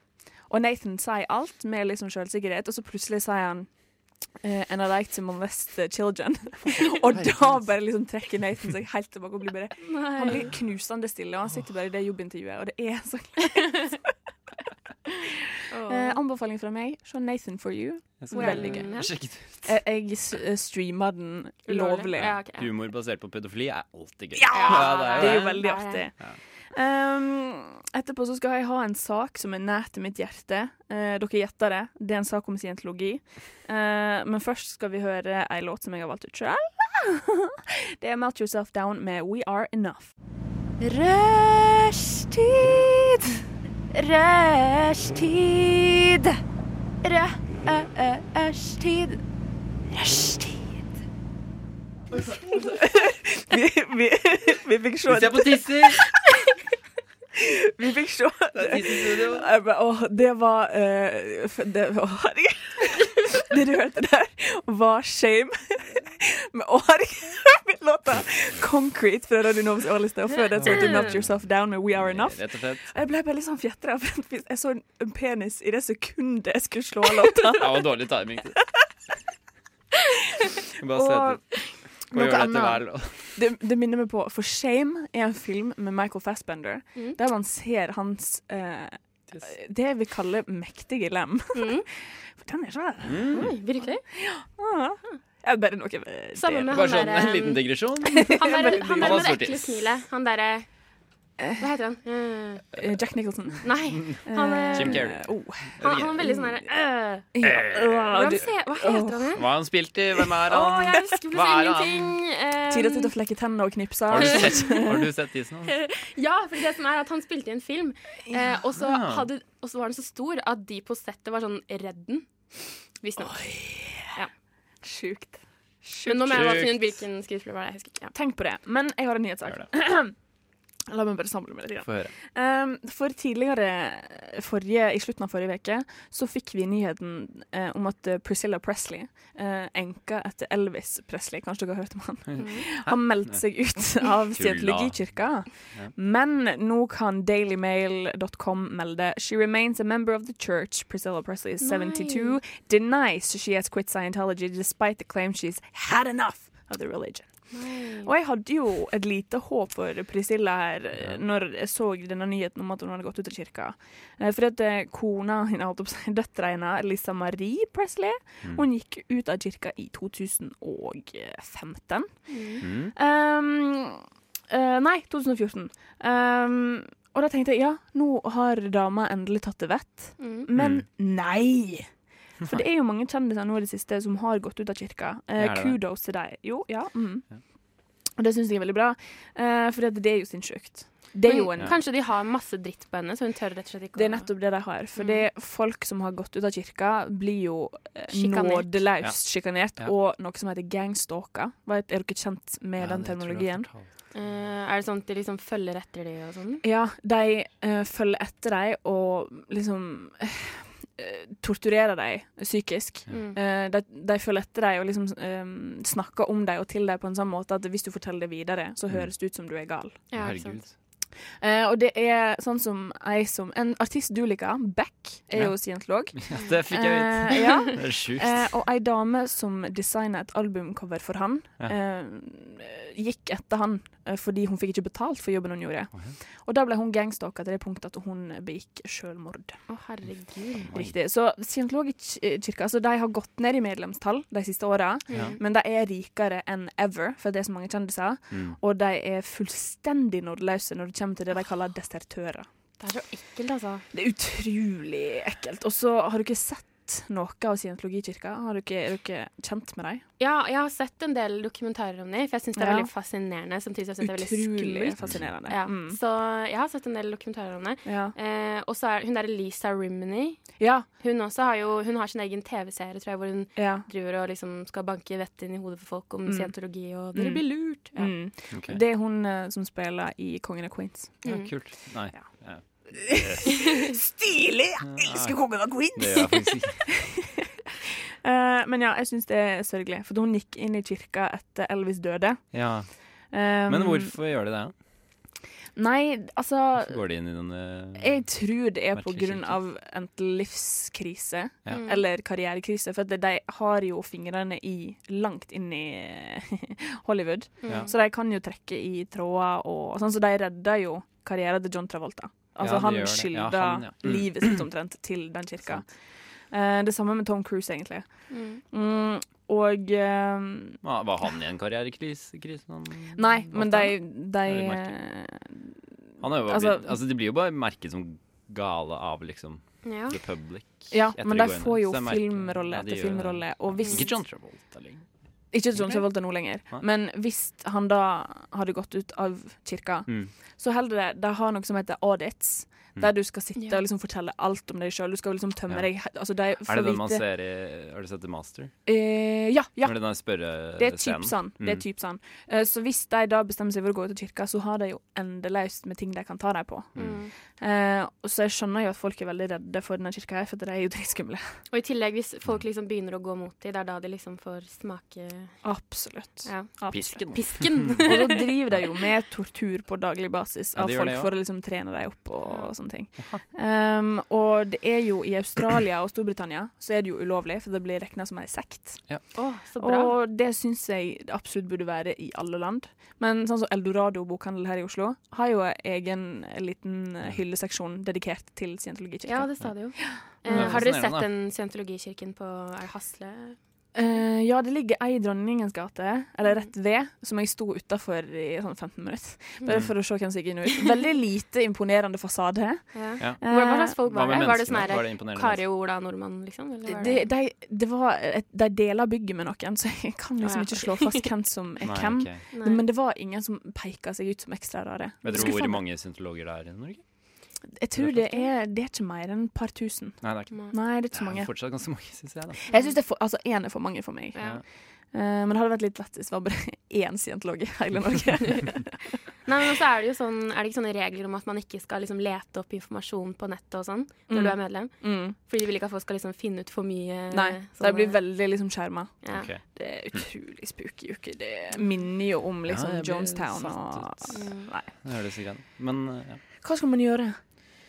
Og Nathan sier alt med liksom selvsikkerhet, og så plutselig sier han eh, And I like to molest the children. *laughs* og da bare liksom trekker Nathan seg helt tilbake og blir bare Han
Nei.
blir knusende stille, og han sitter bare i det jobbintervjuet, og det er så eh,
Åh.
Anbefaling fra meg, se Nathan for you.
Jeg
Hvor
skal
er
Veldig
den
gøy.
igjen?
Jeg sjekket ut.
Eh, jeg s- eh, streama den lovlig.
Ja, ok, ja.
Humor basert på pedofili er alltid gøy.
Ja! Det er jo
Ja,
veldig
det er
artig.
det.
Um, etterpå så skal jeg ha en sak som er nær til mitt hjerte. Eh, dere gjetter det. Det er en sak om scientologi. Eh, men først skal vi høre ei låt som jeg har valgt ut sjøl. *laughs* det er Melt Yourself Down med We Are Enough.
Rushtid. Rushtid. Rushtid. Rushtid.
*laughs* vi, vi, vi fikk se
Se på
*laughs*
tisser!
Vi fikk se
Det er tiss i studio.
Jeg bare, Åh, det var eh, f- det, Å, herregud. *laughs* Det du hørte der, var shame. Men å, herregud, min låta Concrete fra Radio Novs årliste. Og før det så hørte du Melt Yourself Down med We Are Enough.
Rett og slett.
Og Jeg ble bare litt sånn fjetra. for Jeg så en- en penis i det sekundet jeg skulle slå av låta.
Det var dårlig
*laughs*
timing.
Og
Bare se etter. Må
noe
gjøre det til
annet.
hver låt.
det, det minner meg på For Shame er en film med Michael Fassbender der man ser hans eh, det jeg vil kalle mektige lem.
Mm.
For den er svær.
Mm.
Oi, virkelig?
Ah. Jeg er bare noe eh,
Samme
det-
med
Bare
han um,
sånn en liten
derre *laughs*
digresjon.
Han
*laughs*
der
Jeg er veldig
han der
Han
med
har
det ekle
sortis.
smilet. Han derre Hva heter han? Eh,
eh, Jack Nicholson.
Nei.
*laughs*
Han
Eh,
Jim Carrey. Eh.
Oh.
Han, han er veldig sånn herre
Ja. Ah,
Hvordan
du-
ser Hva heter han igjen?
Hva har han spilt i? Hvem er
Å,
han?
jeg husker
Hva er
plutselig
han?
ingenting. Eh,
Tid og tid å flekke tennene og knipse.
Har du sett,
*laughs*
har du sett tissen hans?
Ja, for det som er at han spilte i en film, eh, og, så
Ja.
hadde, og så var den så stor at de på settet var sånn redd den. Visstnok.
Sjukt.
Men nå mener jeg bare å
Sjukt.
finne ut hvilken skuespiller var det. Jeg husker ikke. Ja.
Tenk på det. Men jeg har en nyhetssak.
Gjør
La meg bare samle meg litt. grann.
Få høre.
Um, for tidligere, forrige, i slutten av forrige veke, så fikk vi nyheten eh, om at eh, Priscilla Presley, eh, enka etter Elvis Presley, kanskje dere har hørt om han, har meldt seg ut av Scientologikirka. Men nå kan dailymail.com melde She remains a member of the church. Priscilla Presley is 72. Denies she has quit Scientology despite the claim she's had enough of the religion.
Mm.
Og jeg hadde jo et lite håp for Priscilla her eh, når jeg så denne nyheten om at hun hadde gått ut av kirka. Eh, Fordi at eh, kona *laughs* hennes, holdt jeg på å si, døtra hennes, Lisa Marie Presley,
Mm.
hun gikk ut av kirka i
Mm.
Mm.
Ehm, 2015. Um, eh, nei, 2014. Um, Og da tenkte jeg ja, nå har dama endelig tatt det vett.
Mm.
Men
*laughs*
nei! For det er jo mange kjendiser nå i det siste som har gått ut av kirka. Eh,
Er det det?
kudos til deg. Jo, ja. Mm. Og det syns jeg er veldig bra, eh, for det er jo sinnssykt. Det er jo en
Men Kanskje de har masse dritt på henne, så hun tør rett og slett ikke
Det er nettopp det de har. Fordi
Mm.
folk som har gått ut av kirka, blir jo eh,
Sjikanert.
nådeløst sjikanert.
Ja.
Og noe som heter gangstalker. Vet- Er dere kjent med den teknologien?
Eh, Er det sånn at de liksom følger etter de og sånn?
Ja, de eh, følger etter deg og liksom eh, torturerer deg psykisk.
Mm.
Eh, de, de følger etter deg og liksom eh, snakker om deg og til deg på en sånn måte at hvis du forteller det videre, så
Mm.
høres det ut som du er gal.
Ja, ikke sant?
Herregud.
Eh, og det er sånn som ei som En artist du liker, Beck, er
Ja.
jo scientolog.
*laughs* Det fikk jeg vite.
Eh,
*laughs*
ja.
Det er sjukt.
Eh, og ei dame som designa et albumcover for han,
Ja.
eh, gikk etter han eh, fordi hun fikk ikke betalt for jobben hun gjorde. Og da ble hun gangstalka til det punktet at hun begikk sjølmord.
Å, herregud.
Riktig. Så Scientologikirka altså, de har gått ned i medlemstall de siste åra,
Mm.
men de er rikere enn ever, for det er så mange kjendiser.
Mm,
Og de er fullstendig nådeløse når det kommer til det de kaller desertører.
Det er så ekkelt, altså.
Det er utrolig ekkelt. Og så har du ikke sett noe av Scientologikirka? Har du ikke, er du ikke kjent med dem?
Ja, jeg har sett en del dokumentarer om dem, for jeg syns det er
Ja.
veldig fascinerende. Samtidig som jeg synes det er veldig
Utrolig
skummelt.
fascinerende.
Ja.
Mm.
Så jeg har sett en del dokumentarer om det.
Ja.
Eh, og så er hun derre Lisa Rimney.
Ja,
Hun, også har jo, hun har sin egen TV-serie, tror jeg, hvor hun
ja.
driver og liksom skal banke vettet inn i hodet for folk om
Mm.
scientologi
Mm.
og Dere blir lurt! Ja.
Mm.
Ok.
Det er hun eh, som spiller i Kongen av Queens.
Ja, kult. Nei.
Mm. Ja.
Ja.
Stilig! Jeg
elsker
Kongen av Queens!
Det
*laughs*
gjør jeg faktisk ikke.
Eh, men ja, jeg syns det er sørgelig. For hun gikk inn i kirka etter Elvis døde.
Ja.
Eh,
Men hvorfor gjør de det?
Nei, altså
Hvorfor går de inn i denne
jeg tror det er på
Merkelig
grunn av enten livskrise
Ja.
Mm.
eller karrierekrise. For at de har jo fingrene i langt inn i *laughs* Hollywood.
Mm.
Ja.
Så de kan jo trekke i tråder og sånn. Så de redda jo karrieren til John Travolta. Altså
Ja, de
han
gjør det. Ja,
skylda
han, ja. Mm.
livet sitt omtrent til den kirka.
Sant.
Eh, det samme med Tom Cruise, egentlig.
Mm.
Mm, og eh,
Hva- Var han i en karrierekrise? krise noen-
Nei, men de, de eh,
Det er litt Han er jo bare
altså-
blitt, altså, de blir jo bare merket som gale av liksom
Ja.
the public.
Ja,
etter
men
det
de
går inn.
får jo
Så jeg merker-
filmrolle
Ja, de
etter
gjør det.
filmrolle. Og hvis
Ikke John Travolta lenger.
Ikke John Travolta nå lenger,
Nei.
men hvis han da hadde gått ut av kirka,
Mm.
så holder det De har noe som heter audits, der du skal sitte
Ja.
og liksom fortelle alt om deg sjøl. Du skal liksom tømme
Ja.
deg he- altså, de
Er det
får
den man
vite-
ser i Har du sett The Master?
Eh, ja, ja.
Når det er den spørre-
Det er
scenen.
typ sånn. Det er
Mm.
typ sånn. Eh, så hvis de da bestemmer seg for å gå ut av kirka, så har de jo endeløst med ting de kan ta dem på.
Mm.
Eh, og så jeg skjønner jo at folk er veldig redde for denne kirka her, for de er jo *laughs* dritskumle.
Og i tillegg, hvis folk liksom begynner å gå mot dem, det er da de liksom får smake
Absolutt.
ja.
Absolutt.
Pisken. *laughs*
pisken.
Og så
*laughs*
driver de jo med tortur på daglig basis
Ja,
av
de gjør
folk
det, ja.
for å liksom trene dem opp og, sånne ting. Um, og det er jo i Australia og Storbritannia så er det jo ulovlig, for det blir regna som ei sekt.
Å, så bra.
Og det syns jeg det absolutt burde være i alle land. Men sånn som Eldorado bokhandel her i Oslo har jo en egen liten hylleseksjon dedikert til scientologikirka.
ja, det sa de jo.
Det
Eh,
er
har dere sett
fascinerende, da.
den scientologikirken på Er det Hasle?
Eh, ja, det ligger ei i Dronningens gate,
Mm.
eller rett ved, som jeg sto utafor i sånn 15 minutter. Bare
Mm.
for å se hvem som gikk inn og ut. Veldig lite imponerende fasade.
Ja.
Ja.
Hva hva slags folk
Eh, Hva
var
med
det? Var det sånn
menneskene? Var det
her
imponerende
Kari Ola Nordmann, liksom? Eller var
De, de, det var et, de deler bygget med noen, så jeg kan
Å, ja.
liksom ikke slå fast hvem som er
*laughs* Nei,
hvem.
ok.
Nei.
Men det var ingen som peka seg ut som ekstra rare.
Vet dere
Skuffende.
hvor mange syntologer det er i Norge?
Jeg tror det er, det er ikke mer enn et par tusen.
Nei, det er
Nei.
ikke
Nei, det er
det
ikke så mange.
er fortsatt ganske mange, syns jeg. da
Jeg synes det er for, Altså, én er for mange for meg.
Ja.
Eh, men det hadde vært litt lettest hvis det var bare *laughs* én scientolog i
*laughs*
hele
*laughs*
Norge.
Nei, men også er det jo sånn Er det ikke sånne regler om at man ikke skal liksom lete opp informasjon på nettet og sånn når
Mm.
du er medlem?
mm.
Fordi de vil ikke at folk skal liksom finne ut for mye.
Nei,
sånne-
de blir veldig liksom skjerma.
ja.
Ok.
Det er utrolig spooky uke. Det minner jo om liksom
Ja, jeg blir
Jonestown og
satt ut.
Nei.
Det høres greit ut. Men eh,
*laughs*
ja.
Hva skal man gjøre?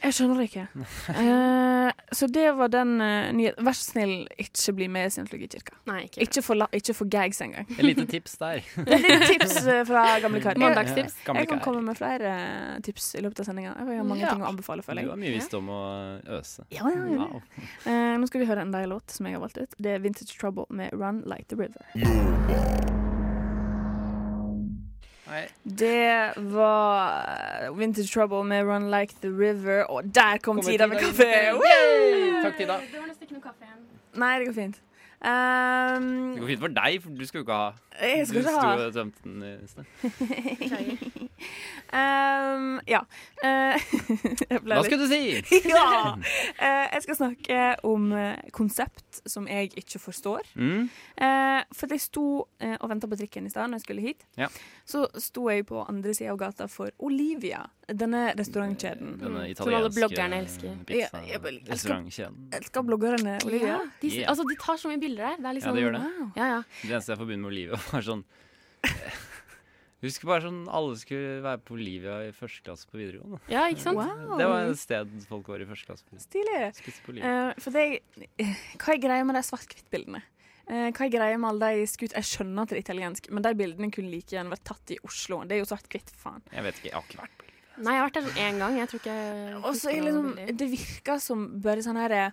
Jeg skjønner det
*laughs*
ikke. Eh, så det var den eh, nyheten. Vær så snill, ikke bli med i Scientologikirka.
Nei, ikke.
Ikke for, la, ikke for gags
*laughs*
engang.
et lite tips
*laughs*
der.
Det er litt tips
*laughs*
eh, fra gamle *laughs* kar. Jeg,
Mandagstips.
Ja, gamle
jeg kan
kar.
komme med flere eh, tips i løpet av sendinga. Jeg har mange
Ja.
ting å anbefale, føler
Du
jeg.
har mye visdom å øse.
Ja, ja, ja.
Wow.
Eh, nå skal vi høre enda en låt som jeg har valgt ut. Det er Vintage Trouble med Run Like The River.
Nei, Nei.
Det var eh, Vintage Trouble med Run Like The River, og der kom tida med kaffe! Woo!
Takk, Tida.
Det var nesten ikke noe
*laughs*
kaffe igjen.
Nei, det går fint. Ehm,
Det går fint for deg, for du skal jo ikke ha.
jeg skal
du
ikke ha
sto og tømte den i sted.
*laughs* Ehm, Ja. Eh, *laughs* jeg ble
Hva
litt-
skulle du si?
*laughs* ja. Eh, jeg skal snakke om eh, konsept som jeg ikke forstår.
Mm.
Eh, for jeg sto eh, og venta på trikken i stad når jeg skulle hit.
Ja.
Så sto jeg på andre sida av gata for Olivia, denne restaurantkjeden.
Mm,
Som
Denne
alle
italienske
bloggerne elsker.
Ja, jeg bare- jeg skal-
Restaurantkjeden.
Jeg elsker bloggerne Olivia.
Ja, de,
Yeah.
altså, de tar så mye bilder der. Det er
Ja,
liksom,
det gjør det.
Wow.
Ja, ja.
Det eneste jeg forbinder med Olivia, *laughs* var sånn Jeg husker bare sånn alle skulle være på Olivia i første klasse på videregående.
ja, ikke sant?
Wow.
Det var et sted folk var i første klasse. på videregående.
Stilig.
Spiste på Olivia.
Eh, for det, eh, *laughs* hva er greia med de svart-hvitt-bildene? Eh, hva er greia med alle de skutt Jeg skjønner at det er italiensk, men de bildene kunne like gjerne vært tatt i Oslo. Det er jo svart-hvitt, faen.
Jeg vet ikke, jeg har ikke vært på
eh.
Olivia.
Nei, jeg har vært der sånn én gang. Jeg tror ikke jeg
Og så
husker
er
noen
liksom,
bilder.
det virker som bare sånn her eh,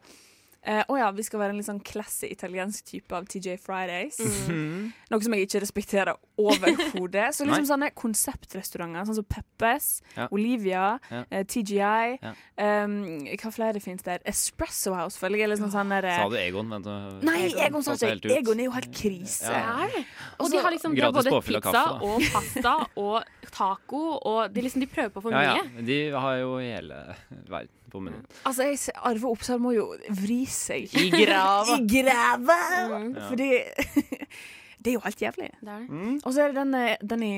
Å ja, vi skal være en litt sånn classy italiensk type av TJ Fridays.
*laughs* Mm.
Noe som jeg ikke respekterer overhodet. Så liksom sånne konseptrestauranter, sånn som Peppes,
Ja.
Olivia,
Ja.
eh, TGI
Ja.
ehm, Hva flere fins der? Espresso House, føler jeg. Liksom sånn der, eh,
Sa du Egon? Vent, nå-
Nei, Egon sa
falt jeg helt ut.
ikke Egon er jo helt krise.
Ja.
Det er det. Og
Også-
de har liksom de har
Gratis
både
påfyll av
pizza
kaffe, da.
og pasta
*laughs*
og taco, og de, liksom, de prøver på for
Ja,
mye.
ja. men De har jo hele verden på menyen.
Altså, jeg, ser- Arve Oppsal må jo vri seg
I grava!
i greva!
Mm.
Fordi *laughs* Det er jo helt jævlig.
Det er det.
Mm.
Og så er det den, eh, den i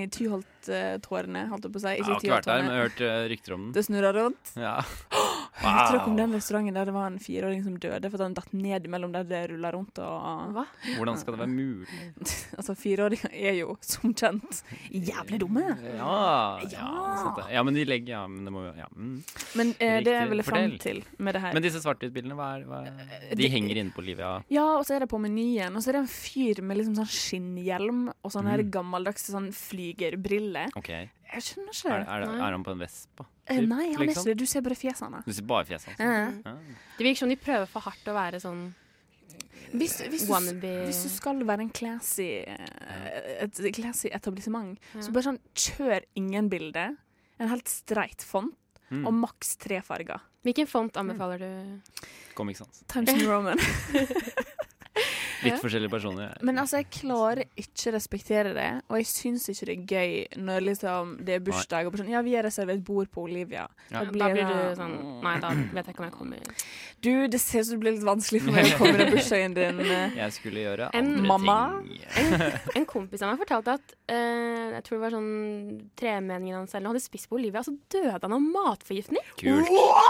Tyholt-tårene, holdt jeg på å si.
Jeg
Ikke
har ikke vært der,
Tyholt-tårene.
men jeg har hørt eh, rykter om den.
Det snurrer rundt.
Ja.
Hørte dere om den restauranten der det var en fireåring som døde fordi han datt ned mellom der det ruller rundt
Mm.
og
Hva?
Hvordan skal det være mulig?
Altså, fireåringer er jo som kjent jævlig dumme.
Ja, ja,
Ja.
sant det. ja men de legger Ja, men det må jo ja. mm.
Men eh, det jeg
Riktig.
ville fram
Fortell.
til med det her
Men disse svart-hvitt-bildene, hva er, hva er De
de-
henger inne på Olivia.
Ja, og så er det på menyen, og så er det en fyr med liksom sånn skinnhjelm og sånn
Mm.
her gammeldagse sånn flygerbrille.
Ok, er,
Jeg skjønner ikke.
er, er han på en vespa?
Eh, Nei, han er
liksom?
ikke det. Du ser bare fjesene.
Du ser bare fjeset hans.
Eh.
Ja.
Det virker som de prøver for hardt å være sånn
Hvis, hvis, du,
wannabe
hvis du skal være en classy, eh, et classy etablissement, så bare sånn kjør ingen bilde. En helt streit font.
Mm.
Og maks tre farger.
Hvilken font anbefaler du?
Comic Sans.
Times New Roman.
Litt forskjellige personer.
*laughs* Men altså, jeg klarer ikke å respektere det, og jeg syns ikke det er gøy når liksom det er bursdag og bare sånn Ja, vi har reservert bord på Olivia.
Da
Ja.
blir du
det-
sånn Nei, da vet jeg ikke om jeg kommer.
Du, det ser ut som det blir litt vanskelig for meg å komme
*laughs*
til bursdagen din. eh.
Jeg skulle gjøre
En
andre
mamma?
ting.
En kompis av meg fortalte at eh, jeg tror det var sånn tremenningen hans eller noe, hadde spist på Olivia, og så døde han av matforgiftning.
Kult.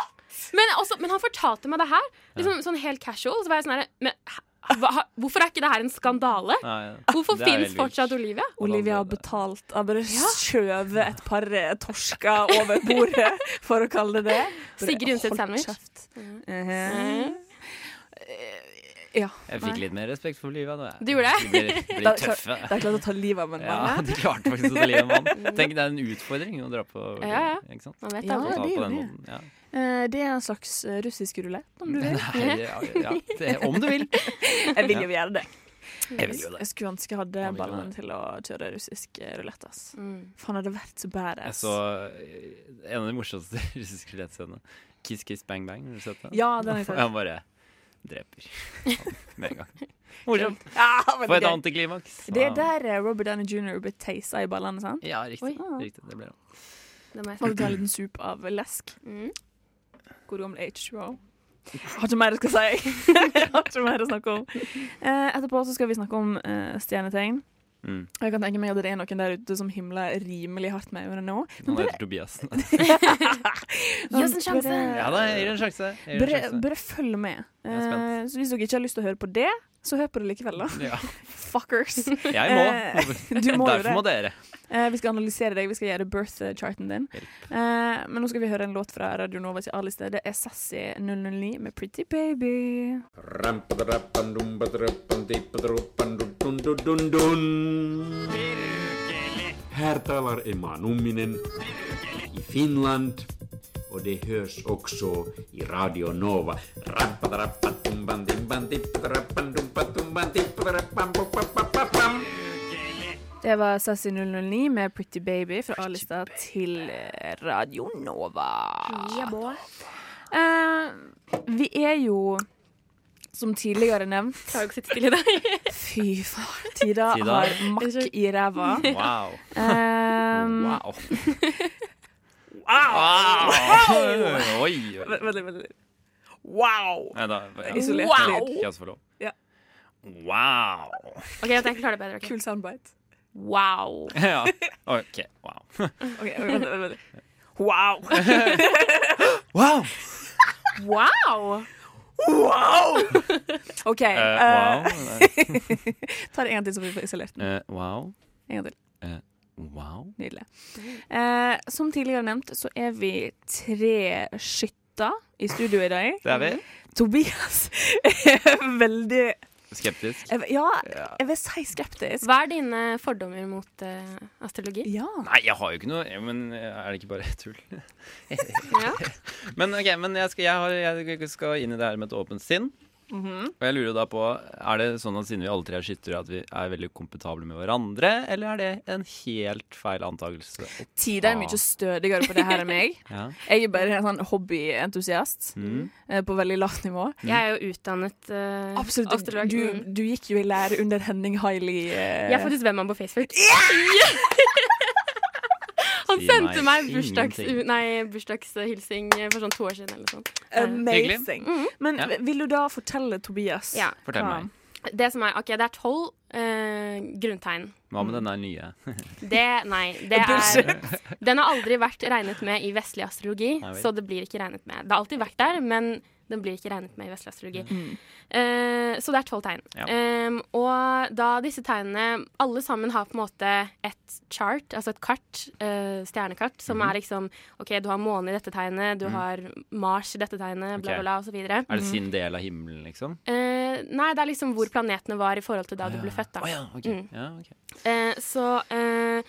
Men, også, men han fortalte meg det her, liksom, sånn helt casual. Så var jeg sånn her Men hæ- hva, hvorfor er ikke det her en skandale?
Nei,
Hvorfor
det er
fins
helt vilt.
fortsatt Olivia?
Olivia har betalt Jeg bare skjøvet et par eh, torsker over bordet, *laughs* for å kalle det det. Bare,
Sigrid Undset
hold
sandwich.
kjeft. Eh,
Mhm.
Ja.
Jeg
Nei.
fikk litt mer respekt for Olivia da.
Du gjorde
det? De ble, ble
*laughs* Da-
tøffe.
Det er klart å ta livet av en
Ja,
mann.
de klarte faktisk å ta livet av en
*laughs*
mann. Tenk, det er en utfordring å dra på Olivia.
Ja, ja.
Ikke sant?
Man vet
Ja,
Å
aldri.
ta
det
på
er jo
den
det.
måten, ja.
Eh, Det er en slags eh, russisk rulett, om du vil.
Nei, ja, ja, det, om du vil.
Jeg vil jo gjøre det.
Jeg vil jo det.
*laughs* Jeg skulle ønske jeg hadde
vil jo
ballene
det.
til å kjøre russisk eh, rulett. ass.
Mm.
Faen, hadde vært så
Jeg
badass.
så eh, en av de morsomste *laughs* russiske skjelettscenene. Kiss Kiss Bang Bang, har du sett den?
Ja, den har jeg
Og
sett.
han bare dreper *laughs* med en gang. Morsomt.
Ja, *laughs* veldig
For et
gøy.
antiklimaks.
Det er
Ja.
der eh, Robert Downey jr. ble tasa i ballene, sant?
Ja, riktig.
Oi.
riktig det ble det.
Det må jeg
Og
si.
ta en liten sup av lesk. *laughs*
Mm.
God gammel H2O. Jeg har ikke mer jeg skal si. *laughs* Jeg har ikke mer å snakke om. Eh, etterpå så skal vi snakke om eh, stjernetegn.
Mm.
Og jeg kan tenke meg at det er noen der ute som himler rimelig hardt med øynene nå.
*laughs*
Han heter Tobias.
Gi oss en sjanse!
Bare-
Ja da, jeg gir det en sjanse. Jeg gir det
Bare,
en sjanse.
bare følg med.
Jeg er spent.
Eh, så hvis dere ikke har lyst til å høre på det, så hør på det likevel, da. *laughs*
Ja,
Fuckers.
jeg må.
Eh, Du må jo
Derfor må
det.
dere.
Eh, vi skal analysere deg, vi skal gjøre birth-charten din. Eh, men nå skal vi høre en låt fra Radio Nova til A-liste. Det er Sassy 009 med 'Pretty Baby'.
Här talar Emma Numminen i Finland och det hörs också i Radio Nova.
Det var Sassy 009 med Pretty Baby fra A-lista til eh, Radio Nova.
*laughs*
Eh, vi er jo, som tidligere nevnt
Klarer ikke å sitte *laughs* stille i dag.
Fy faen, Tida
Tida.
har makk i *laughs* ræva.
Wow.
Um,
Wow. wow. Oi. oi.
Vent litt, vent litt. Wow!
Nei, da, ja.
Isolert
Wow.
lyd.
Ikke jeg som får lov.
Ja.
Wow. *laughs*
Ok, jeg tenker jeg klarer det bedre. ok.
Kul soundbite.
Wow.
Ja. OK. Wow.
Ok, vent, vent, vent. Wow!
*laughs* Wow.
Wow!
*laughs* OK.
Eh,
eh,
wow.
ta det en gang til, så vi får isolert den.
Eh, wow.
En gang til.
Wow.
Nydelig. Eh, som tidligere nevnt, så er vi tre skytter i studio i dag.
Det er vi.
Tobias er veldig
Skeptisk.
jeg, Ja, jeg vil si skeptisk.
Hva er dine fordommer mot eh, astrologi?
Ja.
Nei, jeg har jo ikke noe ja, Men er det ikke bare tull?
Ja.
Men ok, men jeg skal, jeg, har, jeg skal inn i det her med et åpent sinn.
Mhm.
Og jeg lurer jo da på Er det sånn at siden vi alle tre er skyttere, at vi er veldig kompetable med hverandre? Eller er det en helt feil antakelse?
Tida er
Ah.
mye stødigere på det her enn
*laughs*
meg.
Ja.
Jeg er bare en sånn hobbyentusiast
Mm.
eh, på veldig lavt nivå.
Jeg er jo utdannet eh,
Absolutt.
astrolog.
Du,
Mm.
du gikk jo i lære under Henning Hailey. eh,
Jeg er faktisk venn med ham på Facebook. *laughs* Han
Si
sendte
meg
meg bursdags,
ingenting.
nei, bursdagshilsing eh, for sånn to år siden. eller noe sånt.
amazing. Men
Ja.
vil du da fortelle Tobias
Ja.
Fortell
hva-
meg.
Det som er, ok, det er tolv eh, grunntegn.
Hva med denne nye?
Det, nei, det er Den har aldri vært regnet med i vestlig astrologi,
Nei vel.
så det blir ikke regnet med. Det har alltid vært der, men den blir ikke regnet med i vestlig astrologi. Eh, så det er tolv tegn.
Ja.
Em, og da disse tegnene Alle sammen har på en måte et chart, altså et kart, eh, stjernekart, som
Mhm.
er liksom OK, du har månen i dette tegnet, du har Mars i dette tegnet, bla, bla,
Ok.
bla, og så videre.
Er det sin del av himmelen, liksom?
Eh, nei, det er liksom hvor planetene var i forhold til da du ble født, da.
Å ja, ok.
Mm.
Ja, ok.
Eh, så eh,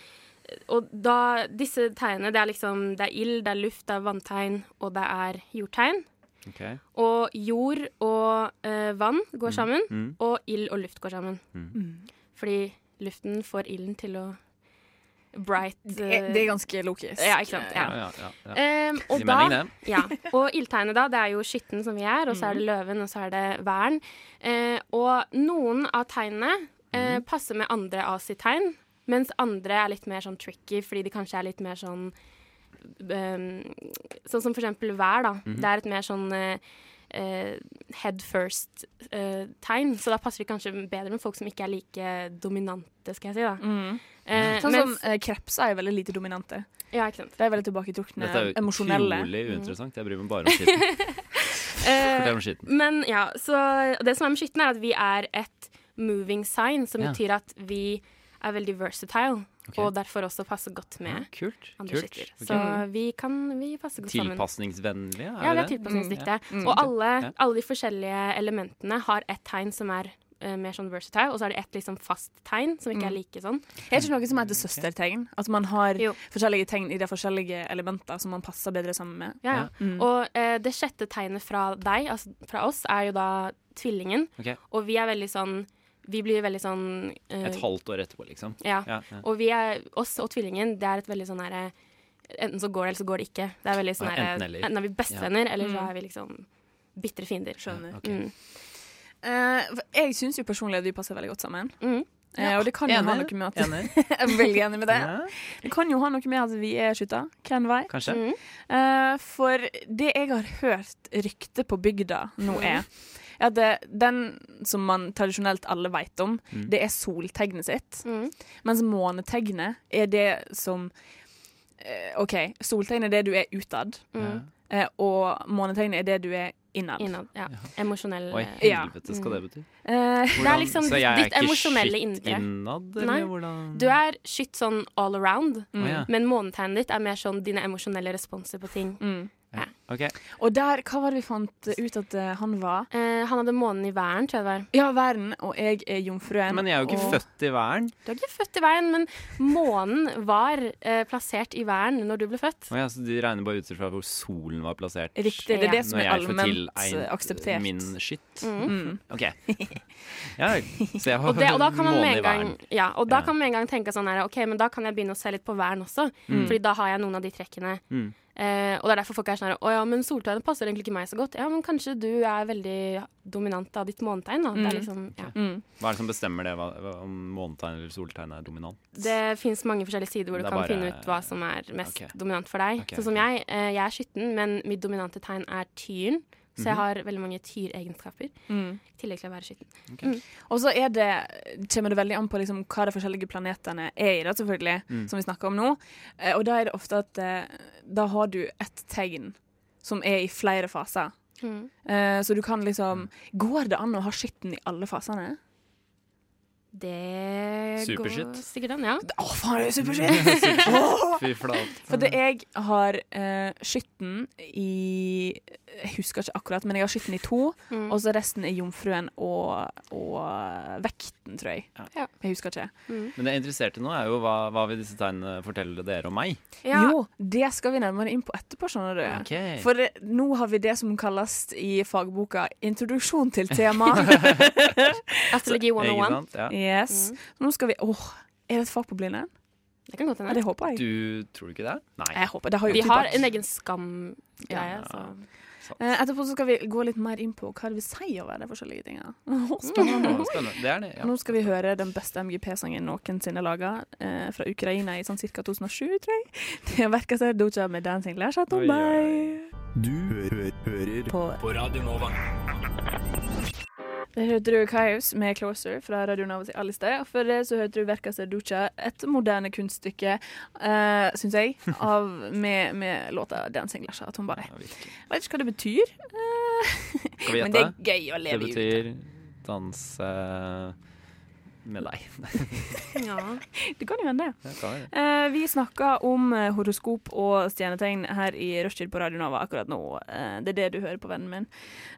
Og da Disse tegnene, det er liksom Det er ild, det er luft, det er vanntegn, og det er jordtegn.
Ok.
Og jord og eh, vann går sammen,
mm.
og ild og luft går sammen.
Mm.
Fordi luften får ilden til å bright
Eh,
eh,
Det det er ganske logisk.
Ja, ikke sant. Ja.
Ja, ja, ja, ja.
Ehm, og
Gir
da,
mening, det.
ja. Og ildtegnet, da, det er jo skytten som vi er, og så er
Mm.
det løven, og så er det væren. Eh, og noen av tegnene eh,
Mm.
passer med andre av sitt tegn, mens andre er litt mer sånn tricky, fordi de kanskje er litt mer sånn ehm, Sånn som for eksempel vær, da.
Mhm.
Det er et mer sånn eh, eh, head first-tegn, så da passer de kanskje bedre med folk som ikke er like dominante, skal jeg si, da.
Mm.
Eh,
Sånn som
mens-
eh, krepser er veldig lite dominante.
Ja, ikke sant.
De er veldig tilbaketrukne,
Dette er jo
emosjonelle.
utrolig
Mm.
uinteressant. Jeg bryr meg bare om
*laughs*
skitten.
Eh,
Fortell om skitten.
Men ja, så det som er med skytten er at vi er et moving sign, som
Ja.
betyr at vi er veldig versatile,
Ok.
og derfor også passer godt med
Kult.
andre
Kult.
skytter.
Ok.
Så vi kan vi passer godt sammen.
Tilpasningsvennlige, er
Ja, vi
det
er
det?
tilpasningsdyktige.
Mm, ja.
Og alle,
Ja.
alle de forskjellige elementene har ett tegn som er eh, mer sånn versatile, og så er det ett liksom fast tegn som
Mm.
ikke er like sånn.
Er det ikke noe som heter søstertegn? At man har
Jo.
forskjellige tegn i de forskjellige elementer som man passer bedre sammen med?
Ja, ja.
Mm.
Og eh, det sjette tegnet fra deg, altså fra oss, er jo da tvillingen,
Ok.
og vi er veldig sånn vi blir veldig sånn eh,
Et halvt år etterpå, liksom.
ja,
Ja, ja.
Og vi er, oss og tvillingen, det er et veldig sånn herre Enten så går det, eller så går det ikke. Det er veldig sånn
Ja,
herre
enten
enten,
eller.
er vi bestevenner, eller så er vi liksom bitre fiender.
Skjønner.
Ok.
Mm.
Eh, for jeg syns jo personlig at vi passer veldig godt sammen.
Mm.
Eh, og det kan jo ha noe med at
Enig.
*laughs* Jeg er veldig enig med det.
Ja,
Det kan jo ha noe med at vi er skytter. Hvem vei?
kanskje.
Mm.
Eh, for det jeg har hørt ryktet på bygda nå
Mm.
er er at det, den som man tradisjonelt alle vet om,
Mm.
det er soltegnet sitt.
Mm.
Mens månetegnet er det som eh, OK, soltegnet er det du er utad,
Mm.
Ja.
eh, og månetegnet er det du er innad.
Innad. Ja. Emosjonell
Oi,
eh,
Ja.
helvete skal det bety.
Eh,
Det er liksom
så
ditt-
jeg er
ditt
ikke
emosjonelle
skitt
indre.
innad,
Nei.
eller hvordan
Du er skytt sånn all around,
Å, Mm. ja.
men månetegnet ditt er mer sånn dine emosjonelle responser på ting.
mm.
Ja. Ok.
*laughs* Og der, hva var det vi fant ut at eh, han var?
Eh, han hadde månen i væren, tror jeg det var.
Ja, verden, og jeg er jomfruen.
Men jeg er jo ikke
og...
født i væren.
Du er ikke født i væren, men månen var eh, plassert i væren når du ble født.
Å ja, så de regner bare ut fra hvor solen var plassert.
Riktig. Det er
Ja.
det som er allment eh, akseptert.
min skytt.
Mm.
OK. Ja, så jeg
*laughs* Og,
har
det, og da kan man med
måne
en
i væren.
gang, ja, og da
Ja.
kan man med en gang tenke sånn her OK, men da kan jeg begynne å se litt på væren også, Fordi da har jeg noen av de trekkene.
Mm.
Eh, og det er derfor folk er sånn her Å ja, men soltegnet passer egentlig ikke meg så godt. Ja, men kanskje du er veldig dominant av ditt månetegn, da. Det er
Mm.
liksom ja.
Hva er det som bestemmer det, hva- hva- om månetegn eller soltegn er dominant?
Det fins mange forskjellige sider hvor du
Det er
kan
bare-
finne ut hva som er mest
Ok.
dominant for deg.
Ok,
sånn som
ok.
jeg. eh, Jeg er skytten, men mitt dominante tegn er tyren. Så
Mhm.
jeg har veldig mange tyregenskaper.
Mm.
I tillegg til å være skytten.
Og så er det, kommer det veldig an på liksom hva de forskjellige planetene er i, da, selvfølgelig, som vi snakker om nå. Eh, Og da er det ofte at eh, da har du ett tegn som er i flere faser.
Mm.
Eh, Så du kan liksom Går det an å ha skitten i alle fasene?
Det
Superskytt.
går sikkert an, ja.
Å, faen, det er *laughs* superskitt! *laughs* Åh!
Fy flate.
For det jeg har eh, skytten i Jeg husker ikke akkurat, men jeg har skytten i to.
Mm.
Og så resten er jomfruen og, og vekten, tror jeg.
Ja.
Jeg husker ikke.
Mm.
Men det jeg er interessert i nå, er jo hva, hva vil disse tegnene fortelle dere om meg?
ja.
Jo, det skal vi nærmere inn på etterpå, skjønner du.
Ok.
For eh, nå har vi det som kalles i fagboka 'introduksjon til
*laughs*
tema'.
Astrologi 101.
Ikke sant? Ja.
yes. Nå skal vi Åh, er det et fag på Blindern?
Det kan godt
Ja,
hende.
det håper jeg.
Du tror du ikke det? Nei.
Jeg håper, det har jo
Vi
typ
har
vært-
en egen skamgreie,
Ja.
så
Eh, Etterpå så skal vi gå litt mer inn på hva det vil si over de forskjellige tinga. Åh,
Å,
Spennende.
Spennende. Det er det. Ja.
Nå skal vi høre den beste MGP-sangen noensinne laga, eh, fra Ukraina i sånn ca. 2007, tror jeg. *laughs* Det er verket seg Doja med 'Dancing Lash at
Oi, oi, oi.
Du hører
Der hørte du Kaius med 'Closer' fra Radio Nova til alle steder. Og før det så hørte du 'Verka Serducha', et moderne kunststykke, uh, syns
*laughs*
jeg, av, med, med låta 'Dancing Lasha Tombare'.
Ja, virkelig.
Vet ikke hva det betyr, eh,
Skal
*laughs*
vi
men det er
gjette?
gøy å
Det
leve i.
betyr danse med deg.
ja.
Det kan jo hende.
Det kan jeg.
Eh, vi snakka om eh, horoskop og stjernetegn her i Rushtid på Radio Nova akkurat nå. Eh, det er det du hører på, vennen min.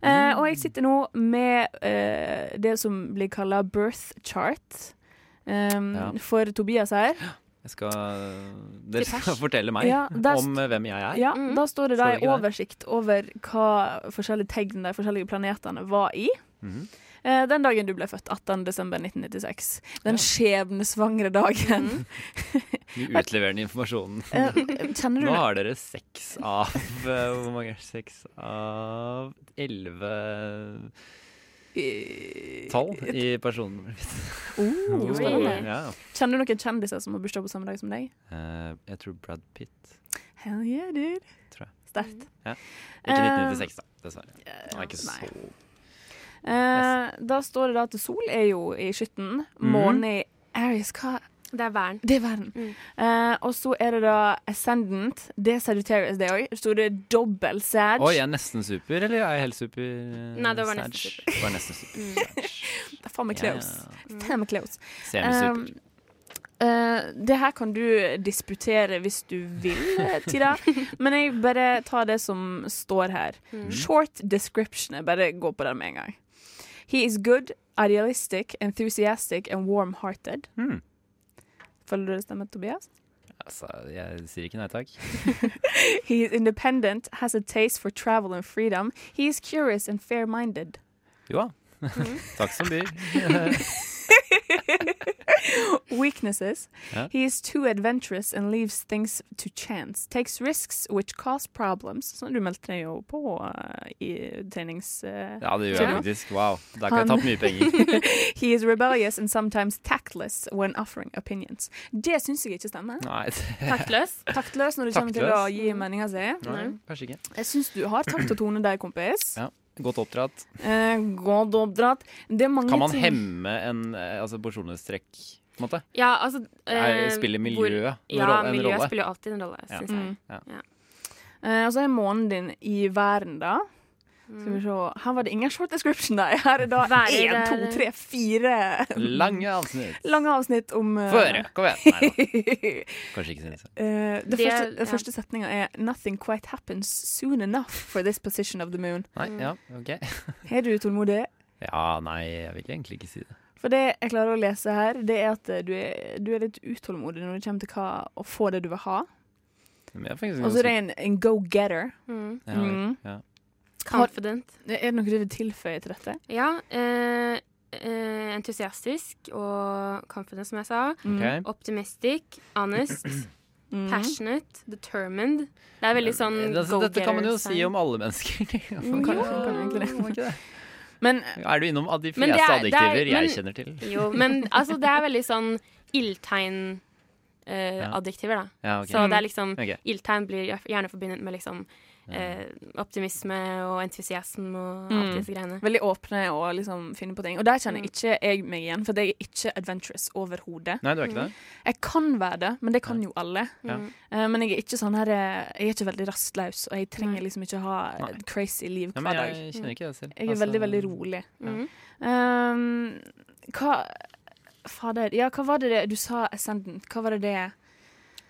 Eh, og
Mm.
jeg sitter nå med eh, det som blir kalla birth chart. Um,
Ja.
For Tobias her.
Jeg skal, dere skal fortelle meg
Ja, der st-
om hvem jeg er.
Ja, Da står det da
Står det
en
ikke det?
oversikt over hva forskjellige tegn de forskjellige planetene var i.
Mhm.
Eh, Den dagen du ble født, 18.12.1996. Den skjebnesvangre dagen.
Du utleverer den informasjonen.
Eh, Kjenner du
Nå
det?
har dere seks av *laughs* eh, Hvor mange er det? Seks av elleve tall i personnummeret mitt.
Oh, spennende.
Ja.
Kjenner du noen kjendiser som har bursdag på samme dag som deg?
Eh, jeg tror Brad Pitt.
Hell yeah, dude.
Tror jeg.
Sterkt.
Ikke
Eh,
1996, da, dessverre. Han er ikke så
nei. Eh, da står det da at sol er jo i skytten.
Mhm.
Månen er i Aries. Hva
Det er væren.
Det er verden.
Mm.
Eh, og så er det da Ascendant. Det er Sagittarius, det òg. Så det er dobbel Sag.
Oi, jeg er nesten super, eller er jeg helt super?
Nei, det var nesten Mm.
super. Det var nesten super.
*laughs*
Det er Faen meg
Ja,
close.
ja.
Faen meg close.
Um,
Semisuper.
Eh, det her kan du disputere hvis du vil, eh,
*laughs*
Tida, men jeg bare tar det som står her.
Mm.
Short description. Jeg bare går på den med en gang. He is good, idealistic, enthusiastic and warm-hearted.
Mm.
Føler du det stemmer, Tobias?
Altså, jeg sier ikke nei takk.
He is independent, has a taste for travel and freedom. He is curious and fair-minded.
Jo da.
Mm.
*laughs* takk som byr.
Weaknesses.
Ja.
He is too adventurous and leaves things to chance. Takes risks which cause problems. Så du meldte deg jo på eh, i trenings... eh.
Ja, det gjør jeg faktisk. Wow. Der kan
Han-
jeg tapt mye
*laughs*
penger.
*laughs* He is rebellious and sometimes tactless when offering opinions. Det syns jeg ikke stemmer.
Nei, det,
Taktløs.
Taktløs når du kommer til å
Taktløs.
gi meninga si.
nei, kanskje ikke.
Jeg syns du har takt og tone der, kompis.
Ja. Godt oppdratt.
Eh, godt oppdratt. Det er mange
Kan man
sånn-
ting-
hemme en eh, altså, personlighetstrekk? På en måte?
Ja, altså
Er-
eh,
Spiller
hvor-
miljøet en,
Ja,
rolle- en
miljøet
rolle?
spiller
Mm.
jo alltid en rolle,
Ja.
syns jeg.
altså, Eh, og så er månen din i verden, da. Skal vi se. Her var det ingen short description, nei. Her er da
Hver er
én,
det-
to, tre, fire
Lange avsnitt.
lange avsnitt om eh,
Føre. Kom igjen. Nei da.
*laughs*
Kanskje ikke synes jeg.
Eh, det
Det er-
første,
ja.
den første setninga er 'Nothing quite happens soon enough for this position of the moon'.
Nei,
Mm.
ja, ok.
Har du tålmodighet?
Ja, nei, jeg vil egentlig ikke si det.
For det jeg klarer å lese her, det er at eh, du er, du er litt utålmodig når det kommer til hva, å få det du vil ha.
Men jeg er faktisk
Og så er
ganske-
det en, en go-getter.
Mm.
Ja,
Mm.
ja.
Confident.
Er det noe du vil tilføye til dette?
Ja. Eh, eh, entusiastisk og confident, som jeg sa.
Ok.
Optimistic,
*clears throat*
honest,
Mm.
passionate, determined. Det er veldig sånn Mm.
Altså, Dette kan man jo si
go-getter-sign.
om alle mennesker. *laughs*
Man kan- man kan egentlig det.
Må
*laughs*
ikke det.
*laughs* Men
Er du innom de
Men det
fleste
er- det er-
adjektiver jeg
men-
kjenner til?
Jo, men altså, det er veldig sånn ildtegn-adjektiver, da.
*laughs* Ja, ok.
Så det er liksom
Ok.
Ildtegn blir gjerne forbundet med liksom eh, optimisme og entusiasme og alt
Mm.
disse greiene.
veldig åpne og liksom finne på ting. Og der kjenner ikke jeg meg igjen, for jeg er ikke adventurous overhodet.
Nei, du er ikke det?
Jeg kan være det, men det kan jo alle.
Ja.
Mm.
Eh, Men jeg er ikke sånn her eh, Jeg er ikke veldig rastløs, og jeg trenger
Nei.
liksom ikke ha
Nei.
et crazy liv
Ja,
hver
men
dag.
jeg altså- kjenner ikke det selv.
Jeg er veldig, veldig rolig.
Mm.
Um, hva Fader, ja, hva var det det du sa, Ascendant? Hva var det det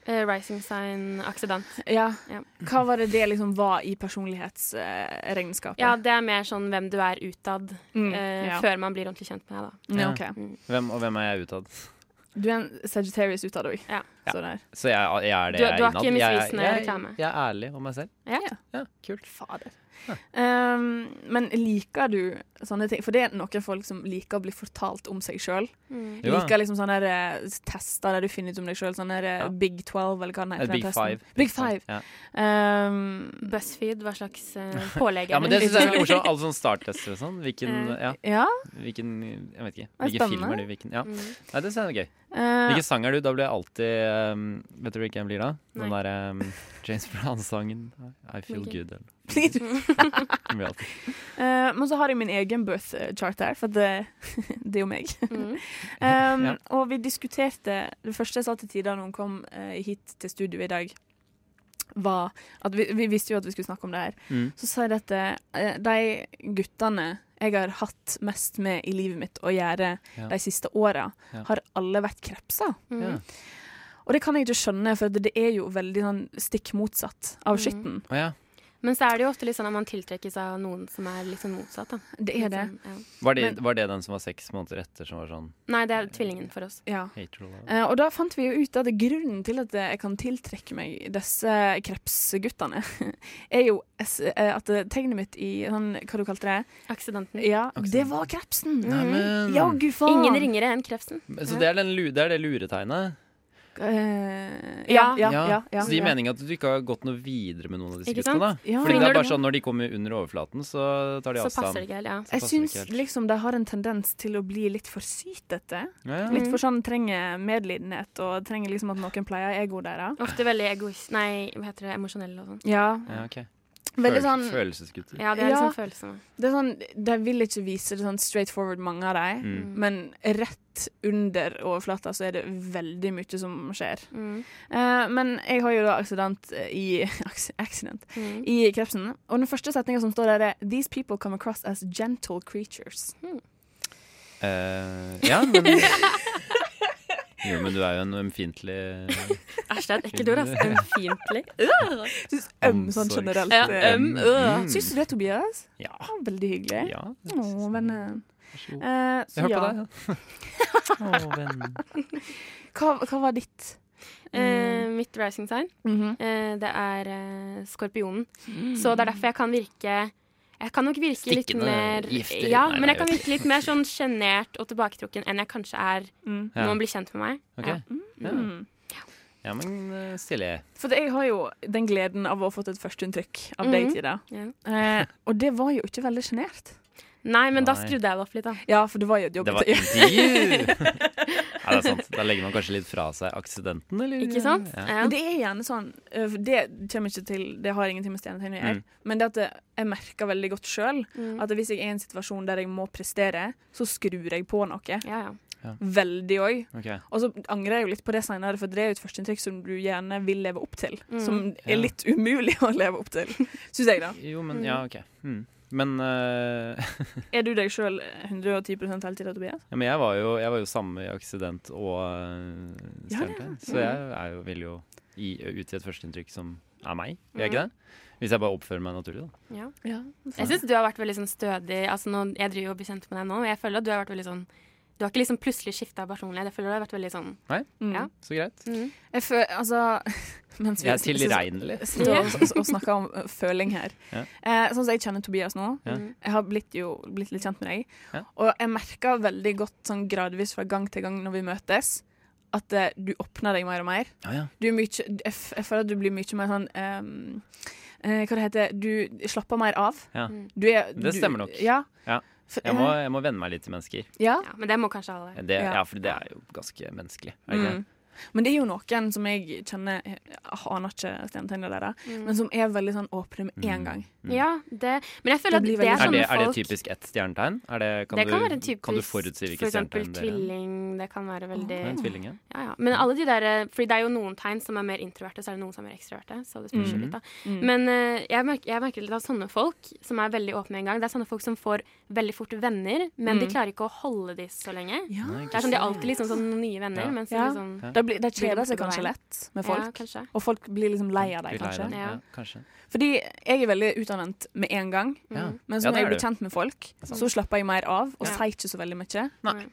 Eh, rising sign aksedant.
Ja.
Ja.
Hva var det det liksom var i personlighetsregnskapet?
Ja, det er mer sånn hvem du er utad,
Mm,
eh,
ja.
før man blir ordentlig kjent med deg, da. Mm.
Ja,
Ja.
ok.
Hvem, og hvem er jeg utad?
Du er en Sagittarius utad òg.
Ja.
Så der.
Så jeg, jeg er det
Du-
jeg er
du har
innad.
ikke
Jeg er-
misvisende
jeg-
reklame.
Jeg er ærlig om meg selv.
Ja.
Ja, kult.
Fader. Um, men liker du sånne ting? For det er noen folk som liker å bli fortalt om seg sjøl.
Mm.
Jo, ja.
Liker liksom sånne her, eh, tester der du finner ut om deg sjøl. Sånne her, eh,
Ja.
Big 12, eller hva den heter.
Eh, Big
den testen.
five.
Big Five.
Ja.
Um,
BuzzFeed, hva slags eh, pålegg
*laughs*
er
ja,
Eh.
men det syns jeg er litt
*laughs*
morsomt. Alle sånne starttester og sånn. Hvilken, ja,
ja.
hvilken Jeg vet ikke.
er
Hvilken film
spennende.
er du? Hvilken, ja.
Mm.
Nei, det syns jeg er gøy.
eh, *laughs*
Hvilken sang er du? Da blir jeg alltid um, Vet du hvilken jeg blir da? Den
Nei.
derre um, James Brown-sangen I Feel
*laughs*
Hvilken?
Good. Eller.
blir du-
Den blir alltid.
Eh, men så har jeg min egen birth eh, chart her, for det, *laughs* det er jo
*laughs*
meg.
Mm.
Um,
Ja.
Og vi diskuterte Det første jeg sa til Tida når hun kom eh, hit til studio i dag, var at vi, vi visste jo at vi skulle snakke om det her.
Mm.
Så sa jeg dette eh, De guttene jeg har hatt mest med i livet mitt å gjøre
Ja.
de siste åra,
Ja.
har alle vært krepser.
Mm.
Ja.
Og det kan jeg ikke skjønne, for det er jo veldig sånn stikk motsatt av skitten.
Å ja.
Men så er det jo ofte litt sånn at man tiltrekkes av noen som er litt sånn motsatt, da.
Det er det.
Litt sånn, ja.
Var, det,
Men-
var det den som var seks måneder etter, som var sånn
Nei, det er tvillingen for oss.
Ja.
hater all of it?
Eh, og da fant vi jo ut at grunnen til at jeg kan tiltrekke meg disse krepsguttene, *laughs* er jo es- eh, at tegnet mitt i sånn, hva du kalte det?
Mm.
Aksedanten.
Ja,
Aksen.
det var krepsen! Mhm.
Neimen.
Ja, gud faen!
Ingen ringere enn krefsen.
Men Så det er, den, lu- det er det luretegnet?
Eh, ja, ja, ja, ja,
Så det gir
ja.
mening at du ikke har gått noe videre med noen av disse
Ikke
guttene? da
Ja.
Fordi det
Når
er
du-
bare sånn når de kommer under overflaten, så tar de
Så passer
avstand.
det ikke helt. Ja.
Så
Jeg
passer det
syns
ikke helt.
liksom de har en tendens til å bli litt for sytete.
Ja,
Mm.
ja.
Litt for sånn trenger medlidenhet og trenger liksom at noen pleier egoet deres.
Ofte veldig egoist... Nei, hva heter det? Emosjonelle og sånn.
Ja,
Ja, ok.
veldig
Føl-
sånn
Følelsesgutter.
Ja, det er
Ja.
liksom følelsene.
Det er sånn, De vil ikke vise det sånn straight forward, mange av dem.
Mm.
Men rett under overflata så er det veldig mye som skjer.
Mm.
Eh, men jeg har jo da aksident i *laughs* aks- accident,
Mm.
i krepsen. Og den første setninga som står der, er These people come across as gentle creatures.
Eh, ja, men
*laughs*
Jo, men du er jo en ømfintlig
Æsj, det er et ekkelt ord, altså. *laughs* Ømfintlig. Uh!
Syns øm sånn
Omsorgs-
generelt.
Ja,
eh,
øm, øh.
Mm.
Syns du det, Tobias?
Ja.
Ja, veldig hyggelig.
ja
Å,
jeg synes det.
vennen.
Vær så god.
Eh,
Jeg
så
hørte
ja. *laughs*
på deg. ja. Å, vennen.
Hva, hva var ditt?
Eh, mitt rising sign,
Mhm.
eh, det er eh, skorpionen.
Mm.
Så det er derfor jeg kan virke Jeg kan nok virke litt
Stikkende,
mer
giftig.
Ja,
Nei,
men
nei,
jeg kan
jeg
virke litt mer sånn sjenert og tilbaketrukken enn jeg kanskje er
Mm.
når
Ja.
man blir kjent med meg.
Ok.
Ja.
Ja.
Mm.
ja, men eh, stilig.
For jeg har jo den gleden av å ha fått et førsteinntrykk av
Mhm.
deg, Tida.
Ja.
Eh, og det var jo ikke veldig sjenert.
Nei, men da
Nei.
skrudde jeg det opp litt, da.
Ja, for det var jo et jobb.
Det var
*laughs*
et intervju! Nei, det er sant. Da legger man kanskje litt fra seg aksidenten, eller?
Ikke sant?
Ja.
Ja.
Mm. Men det er gjerne sånn eh, for Det kommer ikke til Det har ingenting med stjernetegn å gjøre.
Mm.
Men det at det- jeg merker veldig godt sjøl
Mm.
at hvis jeg er i en situasjon der jeg må prestere, så skrur jeg på noe.
Ja, ja.
Veldig òg.
Ok.
Og så angrer jeg jo litt på det seinere, for det er jo et førsteinntrykk som du gjerne vil leve opp til.
Mm.
Som
Ja.
*laughs* er litt umulig å leve opp til, syns jeg, da.
Jo, men ja, OK. Mm. Men, eh, *laughs*
Er du deg sjøl 110 hele tida, Tobias?
ja, men jeg, var jo, jeg var jo samme i Aksident og uh,
Ja, Mm. det
Stjernetøy, så jeg er jo, vil jo gi, utgi et førsteinntrykk som er meg. Gjør jeg ikke det? Hvis jeg bare oppfører meg naturlig, da.
Ja.
Ja.
Jeg syns du har vært veldig sånn stødig. Altså, nå, jeg driver jo og blir kjent med deg nå, og jeg føler at du har vært veldig sånn Du har ikke liksom plutselig skifta personlighet. Jeg føler du har vært veldig sånn
Mm.
Ja.
Så greit.
Jeg føler, altså *laughs* mens vi
Jeg er
sitter-
tilregnelig.
*laughs* sitter og, og- og snakker om eh, føling her.
Ja.
Eh, sånn som jeg kjenner Tobias nå,
Ja.
jeg har blitt, jo, blitt litt kjent med deg,
Ja.
og jeg merker veldig godt sånn gradvis fra gang til gang når vi møtes, at eh, du åpner deg mer og mer.
Ja, ja.
Du er mye, jeg, f jeg føler at du blir mye mer sånn ehm, eh, Hva det heter Du slapper mer av.
Ja.
Du er,
Det
du,
stemmer nok.
Ja.
Ja.
For-
Jeg må, jeg må venne meg litt til mennesker.
ja.
Ja, men det må kanskje alle.
Det,
Ja.
ja, for det er jo ganske menneskelig. Er det
Mm.
ikke det?
Mm. Men det er jo noen som jeg kjenner Jeg aner ikke stjernetegnene deres,
Mm.
men som er veldig sånn åpne med
Mm.
en gang.
Ja, det Men jeg føler
Det
at
blir veldig-
det er
Er det,
sånne
er det
folk
typisk ett stjernetegn? Er det, kan,
Det kan
du,
være typisk
kan du forutsi
for
hvilket
eksempel
stjernetegn det er?
tvilling. Det kan være veldig
Ja, en tvilling, ja.
ja, ja. Men alle de der Fordi det er jo noen tegn som er mer introverte, så er det noen som er mer ekstroverte. Så det
Mm.
spørs jo litt, da. Men eh, jeg merker, jeg merker litt at sånne folk som er veldig åpne med en gang, det er sånne folk som får veldig fort venner, men de klarer ikke å holde de så lenge.
Ja.
Det er sånn, De er alltid liksom sånn nye venner,
Ja.
men så
Ja.
liksom
De, blir, de
Blir
kjeder
borte
seg
på
kanskje
veien.
lett med
Ja,
folk.
kanskje.
og folk blir liksom lei av deg,
Blir lei
kanskje.
deg.
Ja.
Ja, kanskje.
Fordi jeg er veldig utadvendt med en gang.
Mm.
Ja.
Men
Ja,
så når
det
jeg
er
blir
du.
kjent med folk, så slapper jeg mer av og
Ja.
sier ikke så veldig mye.
Nei.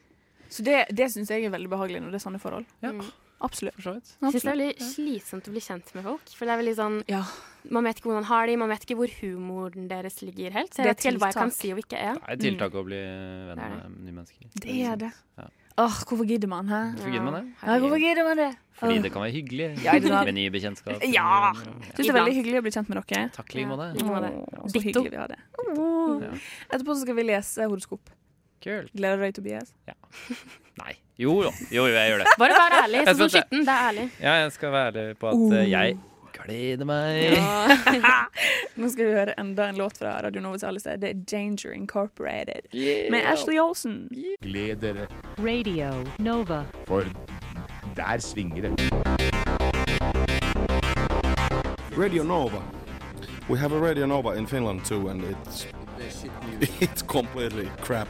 Så det, det syns jeg er veldig behagelig når det er sånne forhold.
Ja.
Absolutt.
For så vidt.
Jeg syns Mm. det er veldig slitsomt å bli kjent med folk. For det er veldig sånn
Ja.
Man vet ikke hvordan har de, man vet ikke hvor humoren deres ligger helt. Så
Det
jeg
er
vet ikke helt hva jeg kan
tiltak.
si og ikke er.
Det er et tiltak å bli
Mm.
venn
Det er
med nye mennesker.
Det er det.
Ja.
Åh, hvorfor gidder man, hæ?
Hvorfor gidder man det?
Ja, hvorfor gidder man det?
Fordi
Åh.
det kan være hyggelig
Ja, ikke sant?
med nye bekjentskap.
Ja. Syns det er
Iblant.
veldig hyggelig å bli kjent med dere.
Takk i like måte.
Ja.
Åh, Så
Ditto.
hyggelig vi har det. Åh. Etterpå så skal vi lese horoskop.
Kult.
Gleder du deg, Tobias?
Nei. Jo da. Jo, jo, jeg gjør det.
Bare vær ærlig.
Jeg
Sånn som
synes det.
skitten, det er ærlig.
Ja, jeg skal være ærlig på at eh, jeg
Oh.
gleder meg.
Nå skal vi høre enda en låt fra Radio Novas alle steder. Det er Danger Incorporated med Ashley Olsen.
Gled dere,
Radio Nova.
for der svinger det. Radio Nova. We have a Radio Nova in Finland too, and it's it's completely crap.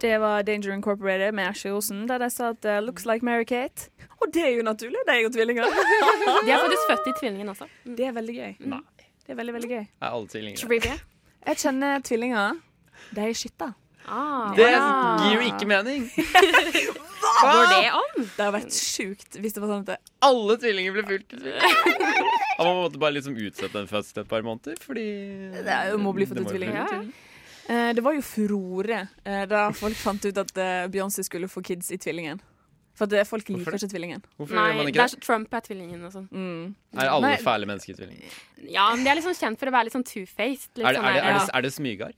Det var Danger Incorporated med Ashley Olsen, der de sa at eh, 'looks like Mary-Kate'. Og det er jo naturlig, de er jo tvillinger.
De er faktisk født i tvillingen også.
*laughs* Det er veldig gøy. Det er veldig, veldig gøy.
Er alle tvillinger?
Trivia.
Jeg kjenner tvillinger. De er skytta.
Ah,
Det
ja.
gir jo ikke mening!
Går det an?
Det hadde vært sjukt hvis det var sånn at det-
Alle tvillinger ble
*laughs*
fulgt. Ja, man måtte bare liksom utsette den fødselen et par måneder, fordi
det er jo må bli født
Det
ut
må jo
tvillinger.
bli.
Ja, ja.
Eh, Det var jo furore eh, da folk fant ut at eh, Beyoncé skulle få kids i tvillingen. For at eh, folk liker
det?
ikke tvillingen.
Hvorfor gjør
Nei,
man
det
ikke
er
det?
så Trump er tvillingen og sånn.
Mm. Er alle
Nei.
fæle mennesker tvillinger?
Ja, men de er liksom kjent for å være litt sånn two-faced. Litt
Er det,
sånn
er det,
der,
er
ja.
det, er det smygar?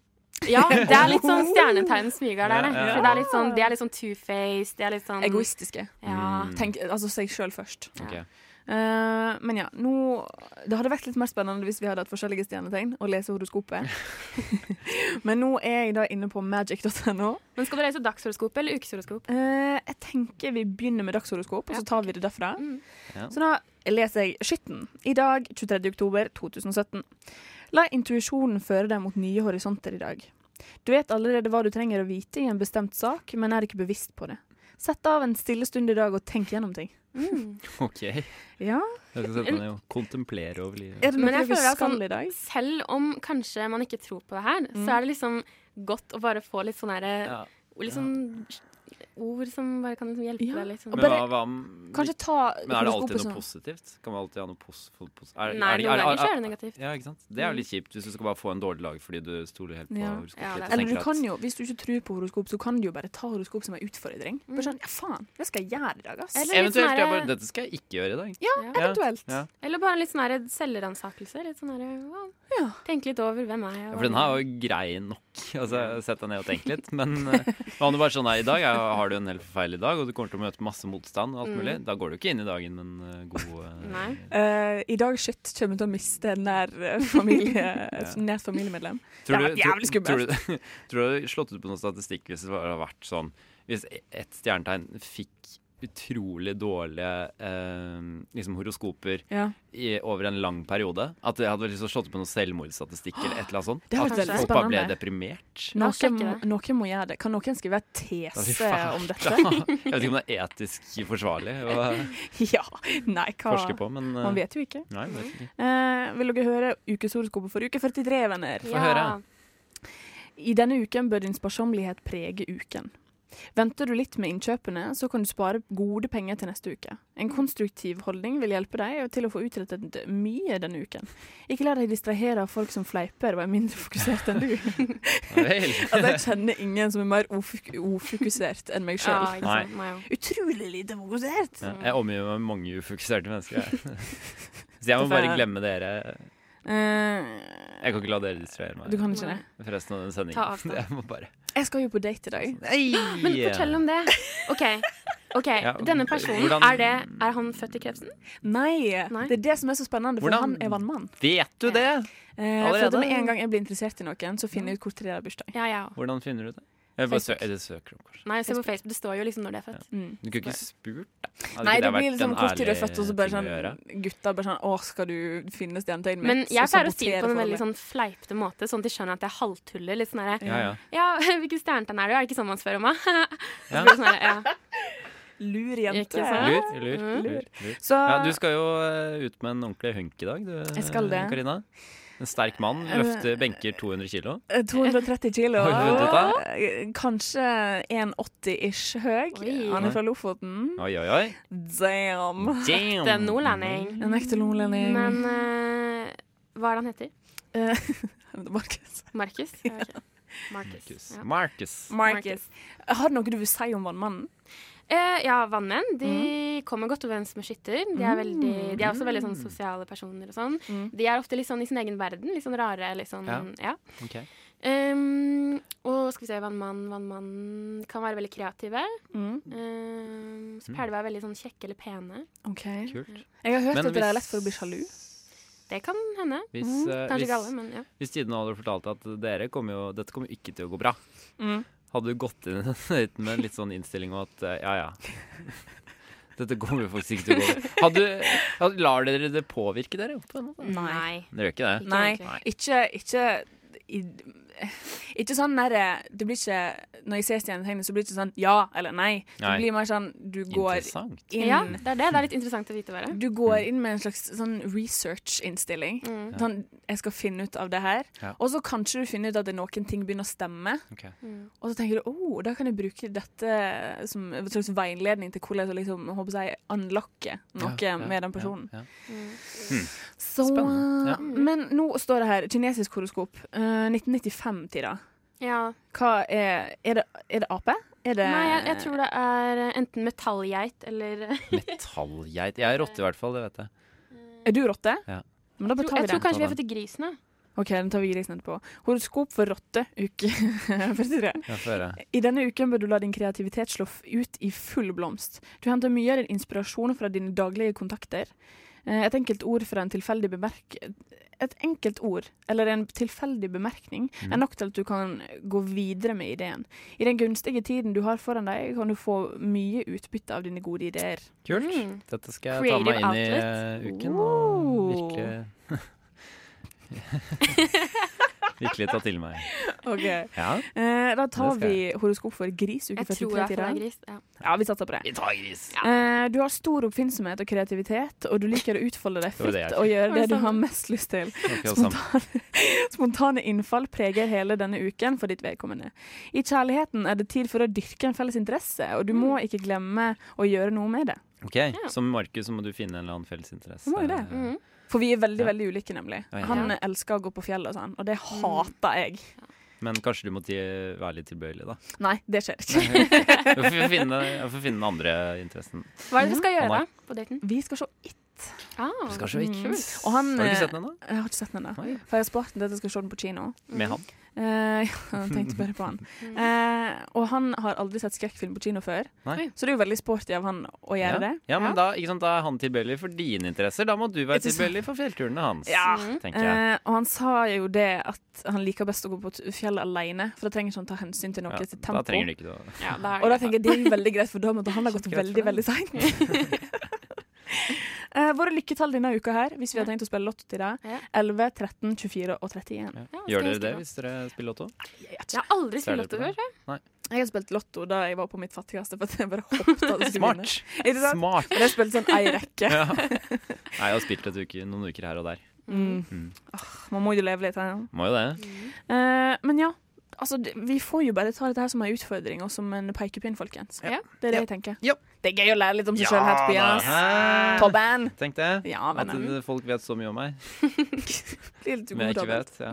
Ja, det er litt sånn stjernetegnens smyger der, det.
Ja, ja.
For det er litt sånn, de er litt sånn two-faced, de er litt
Mm.
sånn
Egoistiske.
Ja.
Mm.
Tenk, altså seg sjøl først.
*laughs*
Ok.
Eh, men ja, nå Det hadde vært litt mer spennende hvis vi hadde hatt forskjellige stjernetegn og lese
*laughs*
horoskopet. men nå er jeg da inne på magic.no.
Men skal du lese dagshoroskop eller ukeshoroskop?
Eh, jeg tenker vi begynner med dagshoroskop, og så tar vi det derfra.
Mm.
Ja.
Så da leser jeg Skytten. I dag, 23. oktober 2017. La intuisjonen føre deg mot nye horisonter i dag. Du vet allerede hva du trenger å vite i en bestemt sak, men er ikke bevisst på det. Sett av en stille stund i dag og tenk gjennom ting. Mm.
Ok. Jeg
Ja,
skal sette meg ned og kontemplere over livet.
Er det
Men
noe
jeg
vi
føler at
skal
sånn-
i dag?
Selv om kanskje man ikke tror på det her,
Mm.
så er det liksom godt å bare få litt sånn herre
Ja.
liksom, Ord som bare kan liksom hjelpe
Ja.
deg litt. Sånn.
Men,
bare-
hva, hva, om-
Kanskje ta
men er det alltid
horoskopet
noe
sånn.
positivt? Kan man alltid ha noe pos pos
Nei,
er,
noen
det-
ganger så er det
er-
negativt.
Ja, ikke sant? Det er jo litt kjipt hvis du skal bare få en dårlig dag fordi du stoler helt på
Ja.
horoskopet.
Ja, det er
og
sant.
Eller
tenker
du kan
at-
jo, Hvis du ikke tror på horoskop, så kan du jo bare ta horoskop som en utfordring. Bare sånn, ja faen, det skal jeg gjøre i dag, ass.
Eller litt sånn
Eventuelt skal jeg bare
herre-
Dette skal jeg ikke gjøre i dag.
Ja,
Ja.
eventuelt.
Ja.
Eller bare litt sånn her selvransakelse. Litt sånn her, wow.
Ja.
Tenk litt over hvem er jeg
Ja,
og
For den her var jo grei nok. *laughs* Altså, Sett deg ned og tenk litt. Men eh, var det bare sånn her i dag ja, har du en helt forferdelig dag, og du kommer til å møte masse motstand, og alt
Mm.
mulig, da går du ikke inn i dagen med en eh, god eh,
Nei.
Eh, I dag shit kommer til å miste en nær eh, familie, *laughs* et nært familiemedlem. Det
Tror du,
har vært jævlig
tror- *laughs* Tror, du- tror du det hadde slått ut på noen statistikk hvis det bare hadde vært sånn Hvis ett stjernetegn fikk utrolig dårlige eh, liksom horoskoper
Ja.
i, over en lang periode. At jeg hadde liksom slått opp med noen selvmordsstatistikk eller et eller annet sånt.
Det hadde
at
vært veldig
folk bare ble
spennende.
deprimert.
Noen, noen må gjøre det. Kan noen skrive et
Da, fy
tese
faen.
eh, om
Da-
dette?
*laughs* Jeg vet ikke om det er etisk forsvarlig å
*laughs* ja. Nei, hva
forske på, men eh,
Man vet jo ikke.
Nei, man vet
*laughs*
ikke.
Eh, vil dere høre ukeshoroskopet for uke 43, venner?
Få Ja. høre.
I denne uken bør din sparsommelighet prege uken. Venter du litt med innkjøpene, så kan du spare gode penger til neste uke. En konstruktiv holdning vil hjelpe deg til å få utrettet mye denne uken. Ikke la deg distrahere av folk som fleiper og er mindre fokusert enn
*laughs*
du. altså, jeg kjenner ingen som er mer ofok- ofokusert enn meg
Ja,
sjøl.
ikke sant? Nei.
Utrolig lite fokusert!
Ja, jeg omgir meg med mange
*laughs*
ufokuserte mennesker. jeg. Så jeg
Det får
må bare
jeg-
glemme dere.
Eh,
Jeg kan ikke la dere distrahere meg.
Du kan ikke det.
For resten av den
Ta
*laughs* sendingen.
avstand.
Jeg må bare
jeg skal jo på date i dag.
Men fortell om det. OK. ok,
Ja,
Denne personen,
hvordan-
er, det, er han født i krepsen?
Nei, det er det som er så spennende, for
Hvordan-
han er vannmann.
Vet du det?
Eh, for at
Allerede?
med en gang jeg blir interessert i noen, så finner jeg ut hvor til det er bursdag.
Ja, ja.
Hvordan finner du det? Jeg bare sø
Facebook.
eller søker opp, kanskje.
Nei, se på Facebook. Det står jo liksom når det er født.
Mm.
Du kunne ikke spurt? da. Hadde
Nei,
ikke
det blir
vært
liksom
en
kort tid du er
ærlig
født, og så bare
ting å
sånn
gjøre?
Gutta bare sånn Å, skal du finne stjernetegnet mitt?
Men jeg
Så
pleier å si det
sabotere
på en
for
veldig
alle.
sånn fleipete måte, sånn at de skjønner at jeg halvtuller. Litt sånn derre
Ja,
ja, *laughs*
ja.
hvilken stjernetegn er du? Er det ikke sånn man spør om, da? *laughs*
Ja.
Så blir det sånn derre, ja.
Lur jente.
Ikke sant?
Lur, lur,
Mm.
lur. lur.
Så-
ja, du skal jo eh, ut med en ordentlig hunk i dag, du,
Jeg skal det.
Karina. En sterk mann. Løfter benker 200 kilo.
Eh, 230 kilo.
Oi, vet du hva?
Eh, Kanskje 1,80-ish høy. Han er fra Lofoten.
Oi, oi, oi.
Damn.
Damn.
Det er nordlending.
En ekte
Mm.
nordlending.
Men eh, hva er det han heter?
Markus.
Markus? Ja, ok. Markus. Ja.
Marcus.
Markus. Har du noe du vil si om vannmannen?
Eh, ja, vannmenn. De
Mm.
kommer godt overens med skytter. De er, veldig, de er også veldig sånn
Mm.
sosiale personer og sånn.
Mm.
De er ofte litt sånn i sin egen verden. Litt sånn rare, litt sånn
Ja.
Ja.
Ok.
Ehm, og skal vi se, vannmann, vannmann kan være veldig kreative.
Mm.
Ehm,
Mm.
så pleier de å være veldig sånn kjekke eller pene.
OK.
Kult.
Jeg har hørt
Men
at dere
hvis-
er lett for å bli sjalu.
Det kan hende.
Hvis,
Mm. Kanskje
eh, hvis-
ikke alle, men ja.
Hvis Tidene hadde fortalt at dere kommer jo, dette kommer ikke til å gå bra,
Mm.
hadde du gått inn i den *laughs* daten med en litt sånn innstilling om at eh, ja, *laughs* ja. Dette kommer jo faktisk ikke til å gå bra. Hadde, hadde, lar dere det påvirke dere? på en måte?
Nei.
Dere gjør ikke det?
Nei, ikke, ikke i, Ikke sånn derre Det blir ikke Når jeg ser stjernetegnet, så blir det ikke sånn ja eller nei. Det
Nei.
blir mer sånn du går
Interessant.
inn
ja, det er det. Det er litt interessant å vite hva det er.
Du går inn med en slags sånn research-innstilling.
Mm.
Sånn, jeg skal finne ut av det her.
Ja.
Og så kanskje du finner ut at det er noen ting begynner å stemme.
Ok.
Mm.
Og så tenker du oh, da kan jeg bruke dette som en slags veiledning til hvordan jeg liksom, jeg håper jeg, unlocke noe
Ja, ja,
med den personen.
ja, ja.
Mm.
Så, mm.
Spennende, ja.
Men nå står det her kinesisk horoskop. eh, 1995 til da.
Ja.
Hva er Er det, er det ape? Er det
Nei, jeg, jeg tror det er eh, enten metallgeit eller eh,
Metallgeit. Jeg er rotte i hvert fall, det vet jeg.
Er du rotte?
Ja.
Men da
Jeg
bare
tror,
tar vi
jeg tror
den.
kanskje vi har fått til grisen, da.
OK, den tar vi grisen etterpå. Horoskop for rotte, *laughs* uke 43.
Jeg får høre.
I denne uken bør du la din kreativitet slå f- ut i full blomst. Du henter mye av din inspirasjon fra dine daglige kontakter. Eh, Et enkelt ord fra en tilfeldig bemerk... Et enkelt ord, eller en tilfeldig bemerkning,
Mm.
er nok til at du kan gå videre med ideen. I den gunstige tiden du har foran deg, kan du få mye utbytte av dine gode
*laughs*
ideer.
Kult. Dette skal jeg ta
Mm.
meg
Creative
inn i eh, uken
*laughs*
og virkelig Virkelig ta til meg.
OK.
Ja.
Eh, da tar
Det skal
vi horoskop for gris uke
Jeg tror
43
jeg
til
får
dag.
deg gris. Ja.
Ja, vi satser på det.
Vi tar gris.
Eh, du har stor oppfinnsomhet og kreativitet, og du liker å utfolde deg
Det var det
fritt
jeg
og
fikk.
gjøre
Oi,
det du
sant.
har mest lyst til.
Ok, og sammen.
Spontane, spontane innfall preger hele denne uken for ditt vedkommende. I kjærligheten er det tid for å dyrke en felles interesse, og du må ikke glemme å gjøre noe med det.
Ok, Som Markus så må du finne en eller annen felles
Du
interesse.
må jo det. Mm. For vi er veldig veldig ulike, nemlig.
Ja, ja.
Han elsker å gå på fjellet og sånn, og det hater jeg.
Men kanskje du må ti- være litt tilbøyelig,
*laughs*
da.
Nei, det skjer
Jeg får
ikke.
finne, jeg får finne den andre interessen.
Hva er det vi
Mm.
skal gjøre
Anna.
da på daten?
Vi skal se It.
Ah,
Vi skal se It.
Mm. Og han, eh, Mm.
Har du ikke sett den ennå?
Jeg har ikke sett den ennå. For jeg har spart den til at jeg skal se den på kino.
Med han?
Eh, *laughs* ja, jeg tenkte bare på han.
Mm.
Eh, og han har aldri sett skrekkfilm på kino før,
Nei.
så det er jo veldig sporty av han å gjøre det.
Ja, men Da, ikke sant, da er han tilbøyelig for dine interesser. Da må du være
Ikke sant?
tilbøyelig for fjellturene hans.
Ja.
tenker jeg.
Eh, og han sa jo det at han liker best å gå på t- fjellet alene, for da trenger ikke han ta hensyn til noe
Ja,
til
da
tempo.
trenger du ikke det.
*laughs*
Ja, da er det
og da
greit.
tenker jeg det er jo veldig greit, for da måtte han ha gått
Kjempegreit
veldig, veldig seint. *laughs* eh, våre lykketall denne uka her, hvis vi har tenkt å spille lotto til deg, 11, 13, 24 og 31.
Gjør dere det hvis dere spiller lotto?
Jeg har aldri
spilt Ser dere på lotto det? før, Nei.
Jeg har spilt lotto da jeg var på mitt fattigste. For at jeg bare håpet at jeg skulle
Smart.
vinne. Ikke sant?
Smart.
*laughs* Men jeg spilte sånn ei rekke.
*laughs* Ja. Nei, jeg har spilt et uke, noen uker her og der.
Mm.
Mm.
Åh, Man må jo leve litt her. ja.
Må jo det.
Mm.
Eh, men ja, altså, det- vi får jo bare ta dette her som en utfordring og som en pekepinn, folkens. Det er det jeg tenker. Det er gøy å lære litt om seg sjøl her, Tobias.
da. Hæ?
Tobben.
Tenk det.
Ja,
At
vennen.
eh, folk vet så mye om meg.
Blir litt
Men jeg ikke
ukomfortabelt.
vet. Ja.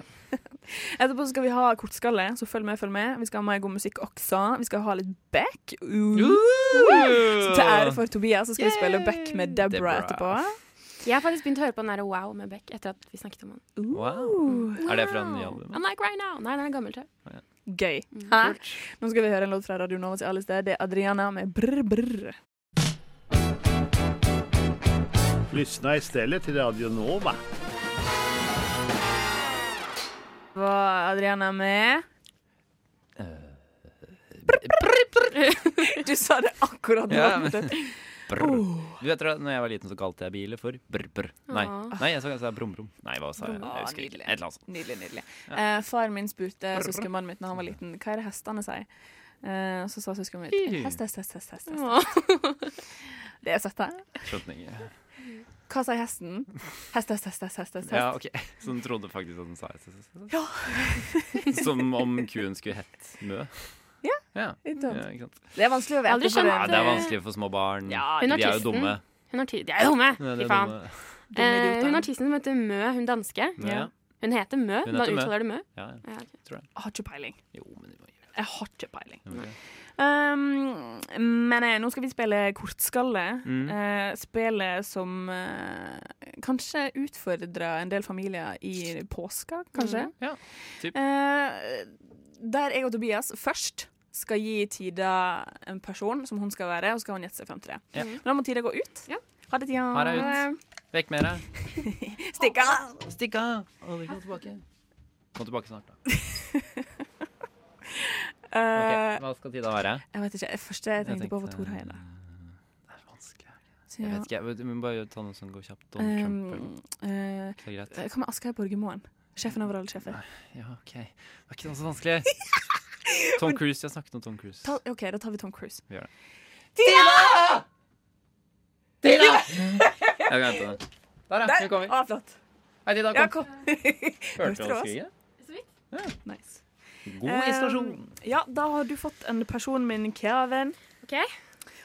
Etterpå skal vi ha kortskalle, så følg med, følg med. Vi skal ha mer god musikk også. Vi skal ha litt back. Uh. Så til ære for Tobias så skal vi spille back med Deborah
Deborah.
etterpå.
Jeg har faktisk begynt å høre på den der Wow med Beck etter at vi snakket om han.
Wow. Er det fra den nye albumet?
I'm like right now. Nei, den er gammel, tror jeg.
Gøy. Hæ? Nå skal vi høre en låt fra Radio Nova til alle steder. Det er Adriana med Brr Brr.
Lyssna istället till Radio Nova.
Det var Adriana med Eh, Du sa det akkurat
Ja,
nå.
men- Brr.
Oh.
Du vet, da når jeg var liten, så kalte jeg biler for brr-brr. Nei.
Åh.
Nei, jeg sa jeg sa brum-brum. Nei, hva sa jeg?
Brum.
Jeg husker ikke. Et eller annet sånt.
Nydelig, nydelig. Eh, faren min spurte søskenbarnet mitt når han var liten, hva er det hestene sier? Eh, så sa søskenbarnet mitt hest, hest, hest, hest. hest, hest. Det er søtt, det.
Skjønte
*laughs*
ikke.
Hva sier hesten? Hest, hest, hest, hest, hest. hest.
Ja, ok. Så hun trodde faktisk at hun sa det.
Ja.
*laughs* Som om kuen skulle hett Mø.
Ja,
Ja.
ikke sant.
Ja, ikke sant.
Det er vanskelig å
Jeg har aldri
vite. for
Ja, det er
det-
vanskelig for små barn.
Ja, hun
De
har
er
tissen.
jo dumme.
Hun har ti- De er dumme!
Ja,
Fy
de er
faen.
dumme.
Dumme
Eh,
idioter.
hun artisten som heter Mø, hun danske.
Ja.
Hun heter Mø.
Hun
da
heter Mø.
uttaler du Mø.
Ja, ja.
ok.
Tror jeg.
Jeg har ikke peiling.
Jo, men det var
Jeg har ikke peiling.
Ok.
Um, men eh, nå skal vi spille kortskalle.
Mm.
Eh, spillet som eh, kanskje utfordrer en del familier i påska, kanskje.
Mm. Ja, typ.
Eh, der jeg og Tobias først skal gi Tida en person som hun skal være, og så skal hun gjette seg fram til det.
Ja.
Men da må Tida gå ut. Ha det, Tida.
Ha deg ut. Vekk med deg.
Stikk av.
Stikk av. Aldri kom tilbake. Kom tilbake snart, da.
Eh,
Ok, Hva skal tida være?
Jeg vet ikke. Det første jeg tenkte på, var Tor Heide. Så
Jeg
ja.
vet ikke, jeg vet, vi må bare ta noe som går kjapt. Donald Trump eller
Um,
noe.
eh,
Så greit.
Hva med Asgeir Borgermoen? Sjefen over alle sjefer.
Ja, OK. Det er ikke noe så
*laughs*
vanskelig. Tom Cruise. Jeg har snakket om Tom Cruise.
Ta, OK, da tar vi Tom Cruise.
Vi gjør det.
Tina!
Tina! Jeg kan hente det. Der, ja.
Der!
Nå kommer vi.
Ah, flott.
Hei, Tina.
Ja,
Kom.
kom.
Hørte du
Hørte du
oss
oss?
skrike?
Nice.
God isolasjon.
Um, ja, da har du fått en person min, Kevin.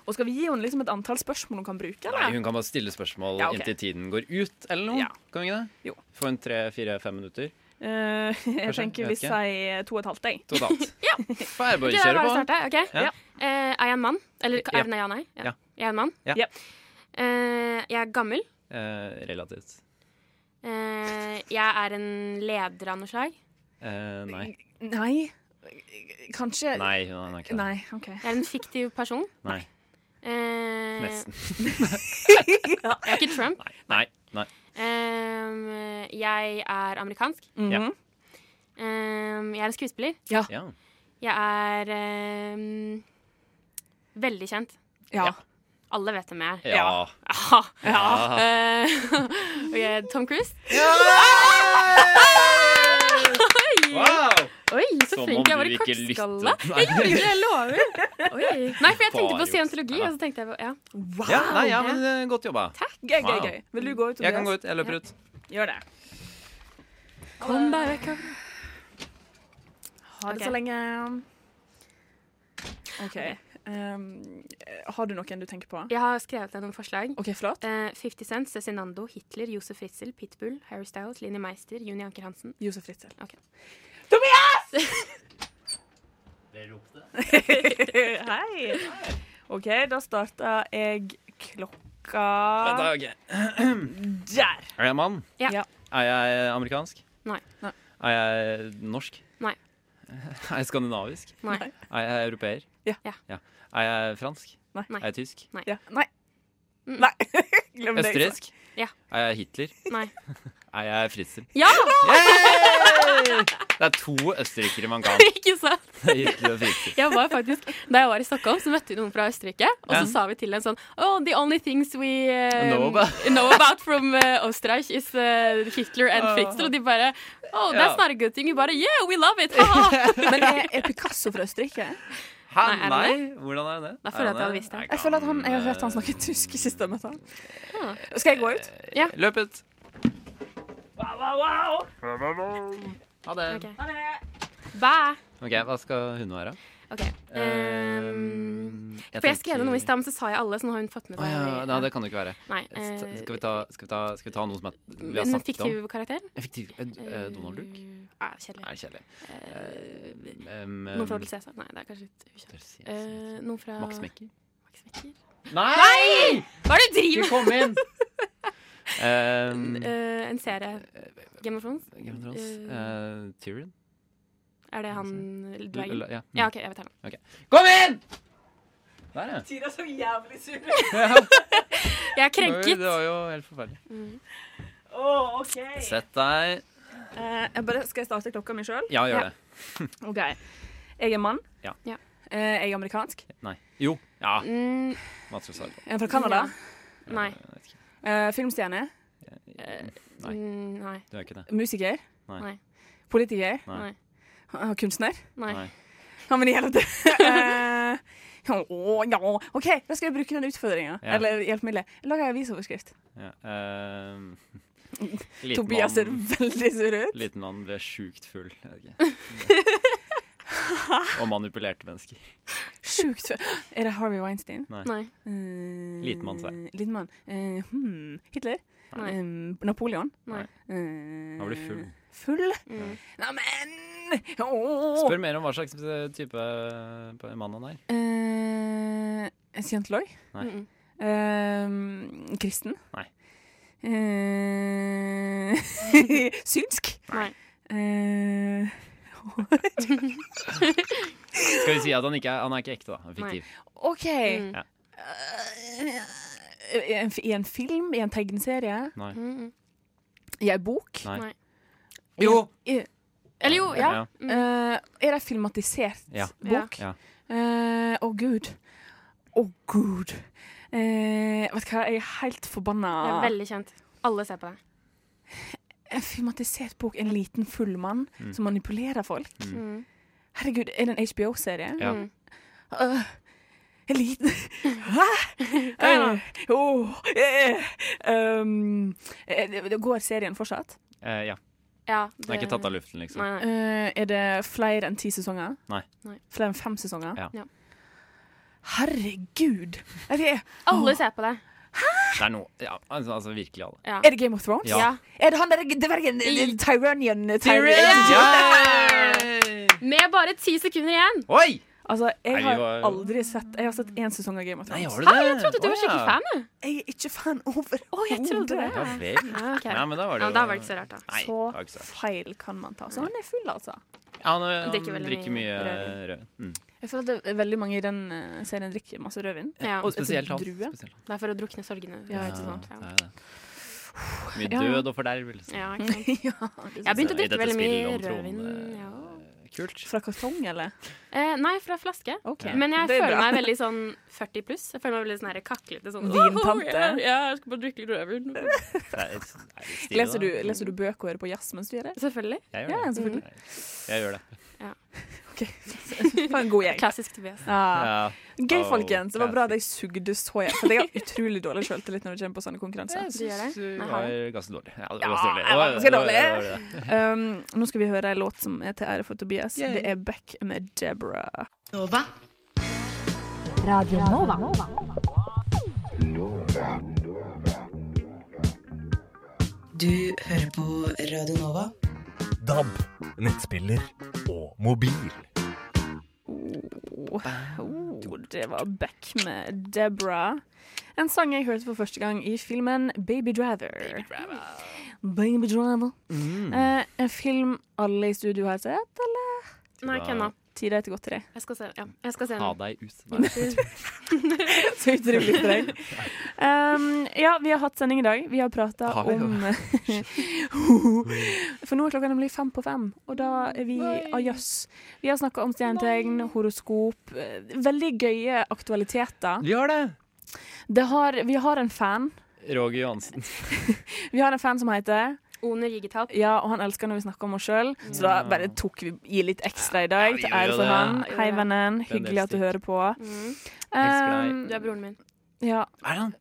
Og skal vi gi henne liksom et antall spørsmål hun kan bruke?
Nei,
Eller?
hun kan bare stille spørsmål
Ja, ok.
inntil tiden går ut, eller noe. Kan vi ikke det?
Jo.
Få en tre-fire-fem minutter.
Eh, *laughs* jeg
Kanskje,
tenker
jeg
vi
vet ikke.
sier to og et halvt, jeg.
To og et halvt.
*laughs* Ja.
Får jeg
Ok, da er
bare
det
kjøre
bare å
på?
starte. Ok.
Ja.
Eh, er jeg en mann? Eller
Ja.
er det nei, ja, nei?
Ja.
Jeg er en mann.
Ja.
Eh, jeg er gammel.
Eh, relativt.
Eh, jeg er en leder av noe slag.
Eh, nei.
Nei. Kanskje
Nei, hun er ikke det.
Nei, OK.
Jeg er en fiktiv person.
Nei.
Eh,
Nesten.
Jeg er ikke Trump.
Nei. Nei.
Eh, jeg er amerikansk.
Ja.
Eh, jeg er en skuespiller.
Ja.
Jeg er eh, veldig kjent.
Ja.
Alle vet hvem jeg er.
Ja.
Ja.
Ja.
Eh, *laughs* ok, Tom Cruise.
Wow!
Oi, så
Som
flink
om
jeg var
du
i
ikke
kortskalle. *laughs*
lyttet. Nei.
Jeg gjorde det, jeg lover. Oi. Nei, for jeg tenkte på
Bare gjort.
scientologi, og så tenkte jeg på ja.
Wow!
ja. Nei, ja, men eh, godt jobba.
Gøy, gøy,
Wow.
gøy. Vil du gå ut?
Jeg kan
Tobias?
gå ut. Jeg løper ut.
Gjør det. Kom deg vekk. Ha det
Ok.
så lenge. OK. ehm, har du noen du tenker på?
Jeg har skrevet ned noen forslag.
OK, flott.
Eh, 50 Cent, Cezinando, Hitler, Josef Ritzel, Pitbull, Harry Styles, Linni Meister, Juni Anker Hansen.
Josef Ritzel.
Ok.
*laughs* Hei. OK, da starter jeg klokka
Vent da, ok.
Der.
Er jeg mann?
Ja.
Ja.
Er jeg amerikansk?
Nei.
Nei.
Er jeg norsk?
Nei.
*laughs* Er jeg skandinavisk?
Nei.
Er jeg europeer?
Ja.
Er jeg fransk?
Nei.
Er jeg tysk?
Nei.
Nei. Nei. *laughs* Glem det.
Østerriksk?
Ja.
Er jeg Hitler?
Nei.
Er jeg fritzel?
Ja!
Det er to østerrikere man
*laughs*
kan.
*laughs* Ikke sant?
Hitler og fritzel.
Jeg var faktisk, Da jeg var i Stockholm, så møtte vi noen fra Østerrike. Og
Ja.
så sa vi til dem sånn Oh, the only things we eh,
Know about."
*laughs* know about from eh, Österreich is eh, Hitler and
Ah.
Fritzel. Og de bare Oh, that's
Ja.
not a good thing. Vi bare Yeah, we love it! haha."
*laughs*
*laughs*
Men er, er Picasso fra Østerrike?
Hæ,
Nei, er det
nei? Hvordan er det?
Da
Er
føler jeg at jeg
han
hadde visst det.
Jeg føler at han, jeg har hørt han snakke tysk sist jeg møtte han. Skal jeg gå ut?
Eh,
Ja.
Løp ut.
Ha
det.
Ha det. Bye.
OK, hva skal hun være?
OK. ehm, for jeg skrev noe i stad, men så sa jeg alle, så nå har hun fått med
Å
seg
ja, nei, det kan det ikke være.
Nei,
S-
eh,
skal, vi ta, skal, vi ta, skal vi ta noe som er, vi har
En
snakket om?
fiktiv karakter?
En Fiktiv, eh, Donald Duck?
Nei, kjedelig.
Nei, kjedelig.
Eh,
Um,
noen fra Hotel Cæsar? Nei, det er kanskje litt ukjent. Eh, noen fra
Max Mekker?
Max Mekker?
Nei!
Hva er det du driver
Ikke kom
*laughs*
inn! Um,
Eh, en serie. Game of Thrones?
Game of Thrones.
Eh,
Eh, Tyrion?
er det han Dragon?
L- l- ja.
ja, OK, jeg vet han.
Ok. Kom inn! Der,
*laughs*
ja.
Tida så jævlig sur.
Jeg er krenket. Mm.
Oi, Det var jo helt forferdelig.
Åh, OK.
Sett deg.
Eh, jeg bare, skal jeg starte klokka mi sjøl?
Ja, gjør det.
OK. Jeg er mann.
Ja.
Ja.
Eh, jeg er amerikansk.
Nei. Jo. Ja.
Mm.
Hva skal du svare på?
Jeg er fra Canada.
Nei.
Eh, filmstjerne.
Nei.
Mm, Nei.
Eh, Du er ikke det.
Musiker.
Nei.
Nei.
Politiker.
Nei.
Eh, kunstner.
Nei.
Ja, men i helvete.
*laughs*
Eh, Å, ja. OK, da skal jeg bruke den utfordringa.
Ja.
Eller hjelpemiddelet. Lag ei avisoverskrift.
Ja. ehm, *laughs* liten
Tobias ser
mann-
veldig sur ut.
Liten mann ble sjukt full. Jeg *laughs* vet ikke. Og manipulerte mennesker.
Sjukt fø- *gasps* Er det Harvey Weinstein?
Nei.
Nei.
Eh,
Liten mann, sa jeg.
Liten mann. Eh, hmm. Hitler?
Nei.
Eh, Napoleon?
Nei.
Eh,
Han blir full.
Full?
Mm.
Neimen! Åh!
Spør mer om hva slags type eh, mann han er.
Eh, en Scientolog?
Mm,
Nei. Mm-mm.
Eh, kristen?
Nei.
Eh, *laughs* synsk?
Nei.
Eh, *laughs*
Skal vi si at han ikke er, han er ikke ekte, da? Han er Fiktiv.
OK.
Ja.
Eh, i en- I en film? I en tegneserie?
Nei.
Mm.
I ei bok?
Nei.
Nei.
Jo!
I,
Eller jo, ja.
Eh, er det en filmatisert
Ja.
bok?
Ja.
Eh, Å, gud. Å, gud. Eh, vet du hva, jeg er helt forbanna.
Det er veldig kjent. Alle ser på deg.
En filmatisert bok. En liten full mann
Mm.
som manipulerer folk.
Mm.
Herregud, er det en HBO-serie?
Ja.
Mm.
Øh, en liten *laughs* Hæ?
igjen,
Eh, åh, eh, um, eh, det- det går serien fortsatt?
Eh, ja.
Ja,
Den er ikke tatt av luften, liksom.
Nei, nei.
Eh, er det flere enn ti sesonger?
Nei.
Nei.
Flere enn fem sesonger?
Ja.
Ja.
Herregud! Er det,
Alle ser på deg.
Det er noe ja, altså, altså virkelig alle.
Ja.
er det Game of Thrones?
Ja.
Ja.
Er det han der dvergen
I-
Tyranian
Yay!
Med bare ti sekunder igjen.
Oi!
Altså,
Nei,
jeg
vi
har
var-
aldri sett Jeg har sett én sesong av Game of
Nei,
Thrones.
har du det?
Hæ, jeg trodde du var skikkelig fan. jeg.
Jeg er ikke fan overhodet.
jeg trodde det.
Ja vel.
Ja, ok.
Nei, men da var
Ja,
det jo
da var det ikke så rart, da.
Nei, det
Så
var ikke så rart.
feil kan man ta. Så han er full, altså.
Ja, han, han
drikker
drikker,
veldig
mye
mye
rød. Mm.
Jeg føler at det er veldig mange i den eh, serien drikker masse rødvin. *laughs*
Ja.
Og
Spesielt han.
drue.
Spesielt.
Det er for å drukne sorgene.
Ja, ikke sant.
Ja,
Ja.
det er det. Mye
Ja.
død og fordervelse.
Ja, ikke sant.
Jeg
Jeg begynte å
I dette
drikke veldig mye
spillet om
rødvin.
tronen,
Ja.
Kult.
Fra kartong, eller?
Eh, nei, fra flaske.
Ok.
Men jeg
Det er
føler
bra.
meg veldig sånn 40 pluss. Jeg føler meg veldig sånn her kaklete. Sånn,
Vintante.
«Åhå, ja, ja, jeg skal bare drikke litt rødvin.
Det er- det er stilig,
Leser du,
da.
leser du bøker på jazz mens du gjør det?
Selvfølgelig.
Ja, sånn.
Jeg gjør det.
selvfølgelig.
Jeg gjør det.
For en Mm. god gjeng.
*laughs* Klassisk Tobias.
Ja.
Ja.
Gøy,
Oh,
folkens. Det var bra at jeg
classic.
sugde så jeg. For jeg har utrolig dårlig sjøltillit når det kommer på sånne konkurranser.
Du gjør det?
Det
Nei,
var
har du?
ganske dårlig. Ja, det var
Ja,
ganske dårlig.
jeg var ganske
Det var- det var-
dårlig.
det var det.
Um, nå skal vi høre en låt som er til ære for Tobias. Det er Beck med Deborah.
Radio Nova.
Du hører på Radio Nova.
DAB, nettspiller og mobil.
Oh, oh, det var Beck med Deborah. En sang jeg hørte for første gang i filmen Baby Driver. Baby Mm.
Mm.
Driver. Baby Driver. Eh, en film alle i studio har sett, eller?
Nei, ikke ennå.
Tida er til godteri.
Jeg skal se, ja. jeg skal se
Ha deg ut. Nei.
Så utrolig streng. *laughs* Um, ja, vi har hatt sending i dag. Vi har prata
Har vi?
om *laughs* For nå er klokka nemlig fem på fem, og da er vi ah, jøss. Vi har snakka om stjernetegn, horoskop eh, Veldig gøye aktualiteter.
Vi har det.
har, vi har en fan.
Roger Johansen.
Vi har en fan som heter
*laughs* Oner Gigetalp.
Ja, og han elsker når vi snakker om oss sjøl, så da bare tok vi gi litt ekstra i dag.
vi
Til ære
gjorde
for
det.
han.
Ja, vi
Hei,
gjorde det.
vennen.
Det er en del
Hyggelig at du hører på.
Mm.
Ehm,
Elsker deg.
Du er broren min.
Ja.
Er han?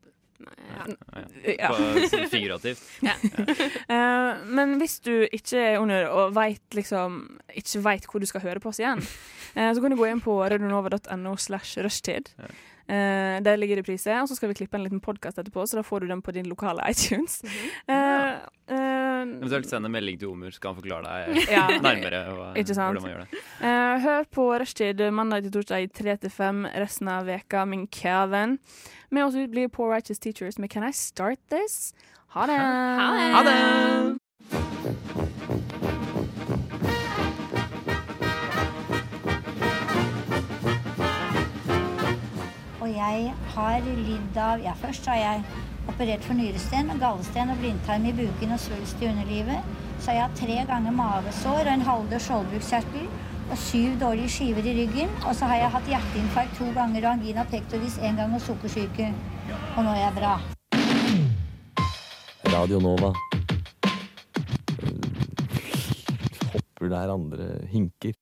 Ja.
På- sånn Figurativt.
Eh, men hvis du ikke er under og vet, liksom, ikke vet hvor du skal høre på oss
*laughs*
igjen, eh, så kan du gå inn på radionova.no slash rushtid. Eh, der ligger det priser, og så skal vi klippe en liten podkast etterpå, så da får du den på din lokale iTunes.
Mhm.
Eh, eh,
Eventuelt send en melding til Omer, så kan han forklare deg
*laughs* Ja.
nærmere hva,
Ikke sant?
hvordan man gjør det.
Eh, hør på Rushtid mandag til torsdag i 3 til 5 resten av veka, min kjære venn. Med oss ut blir Poor Righteous Teachers med Can I Start This? Ha det!
Ha
det!
Og jeg har lidd av Ja, først har jeg operert for nyresten, gallesten og blindtarm i buken og svulst i underlivet. Så har jeg hatt tre ganger mavesår og en halvdød skjoldbruskkjertel og syv dårlige skiver i ryggen. Og så har jeg hatt hjerteinfarkt to ganger og angina pectoris én gang og sukkersyke. Og nå er jeg bra.
Radio Nova. Eh, Hopper der andre hinker.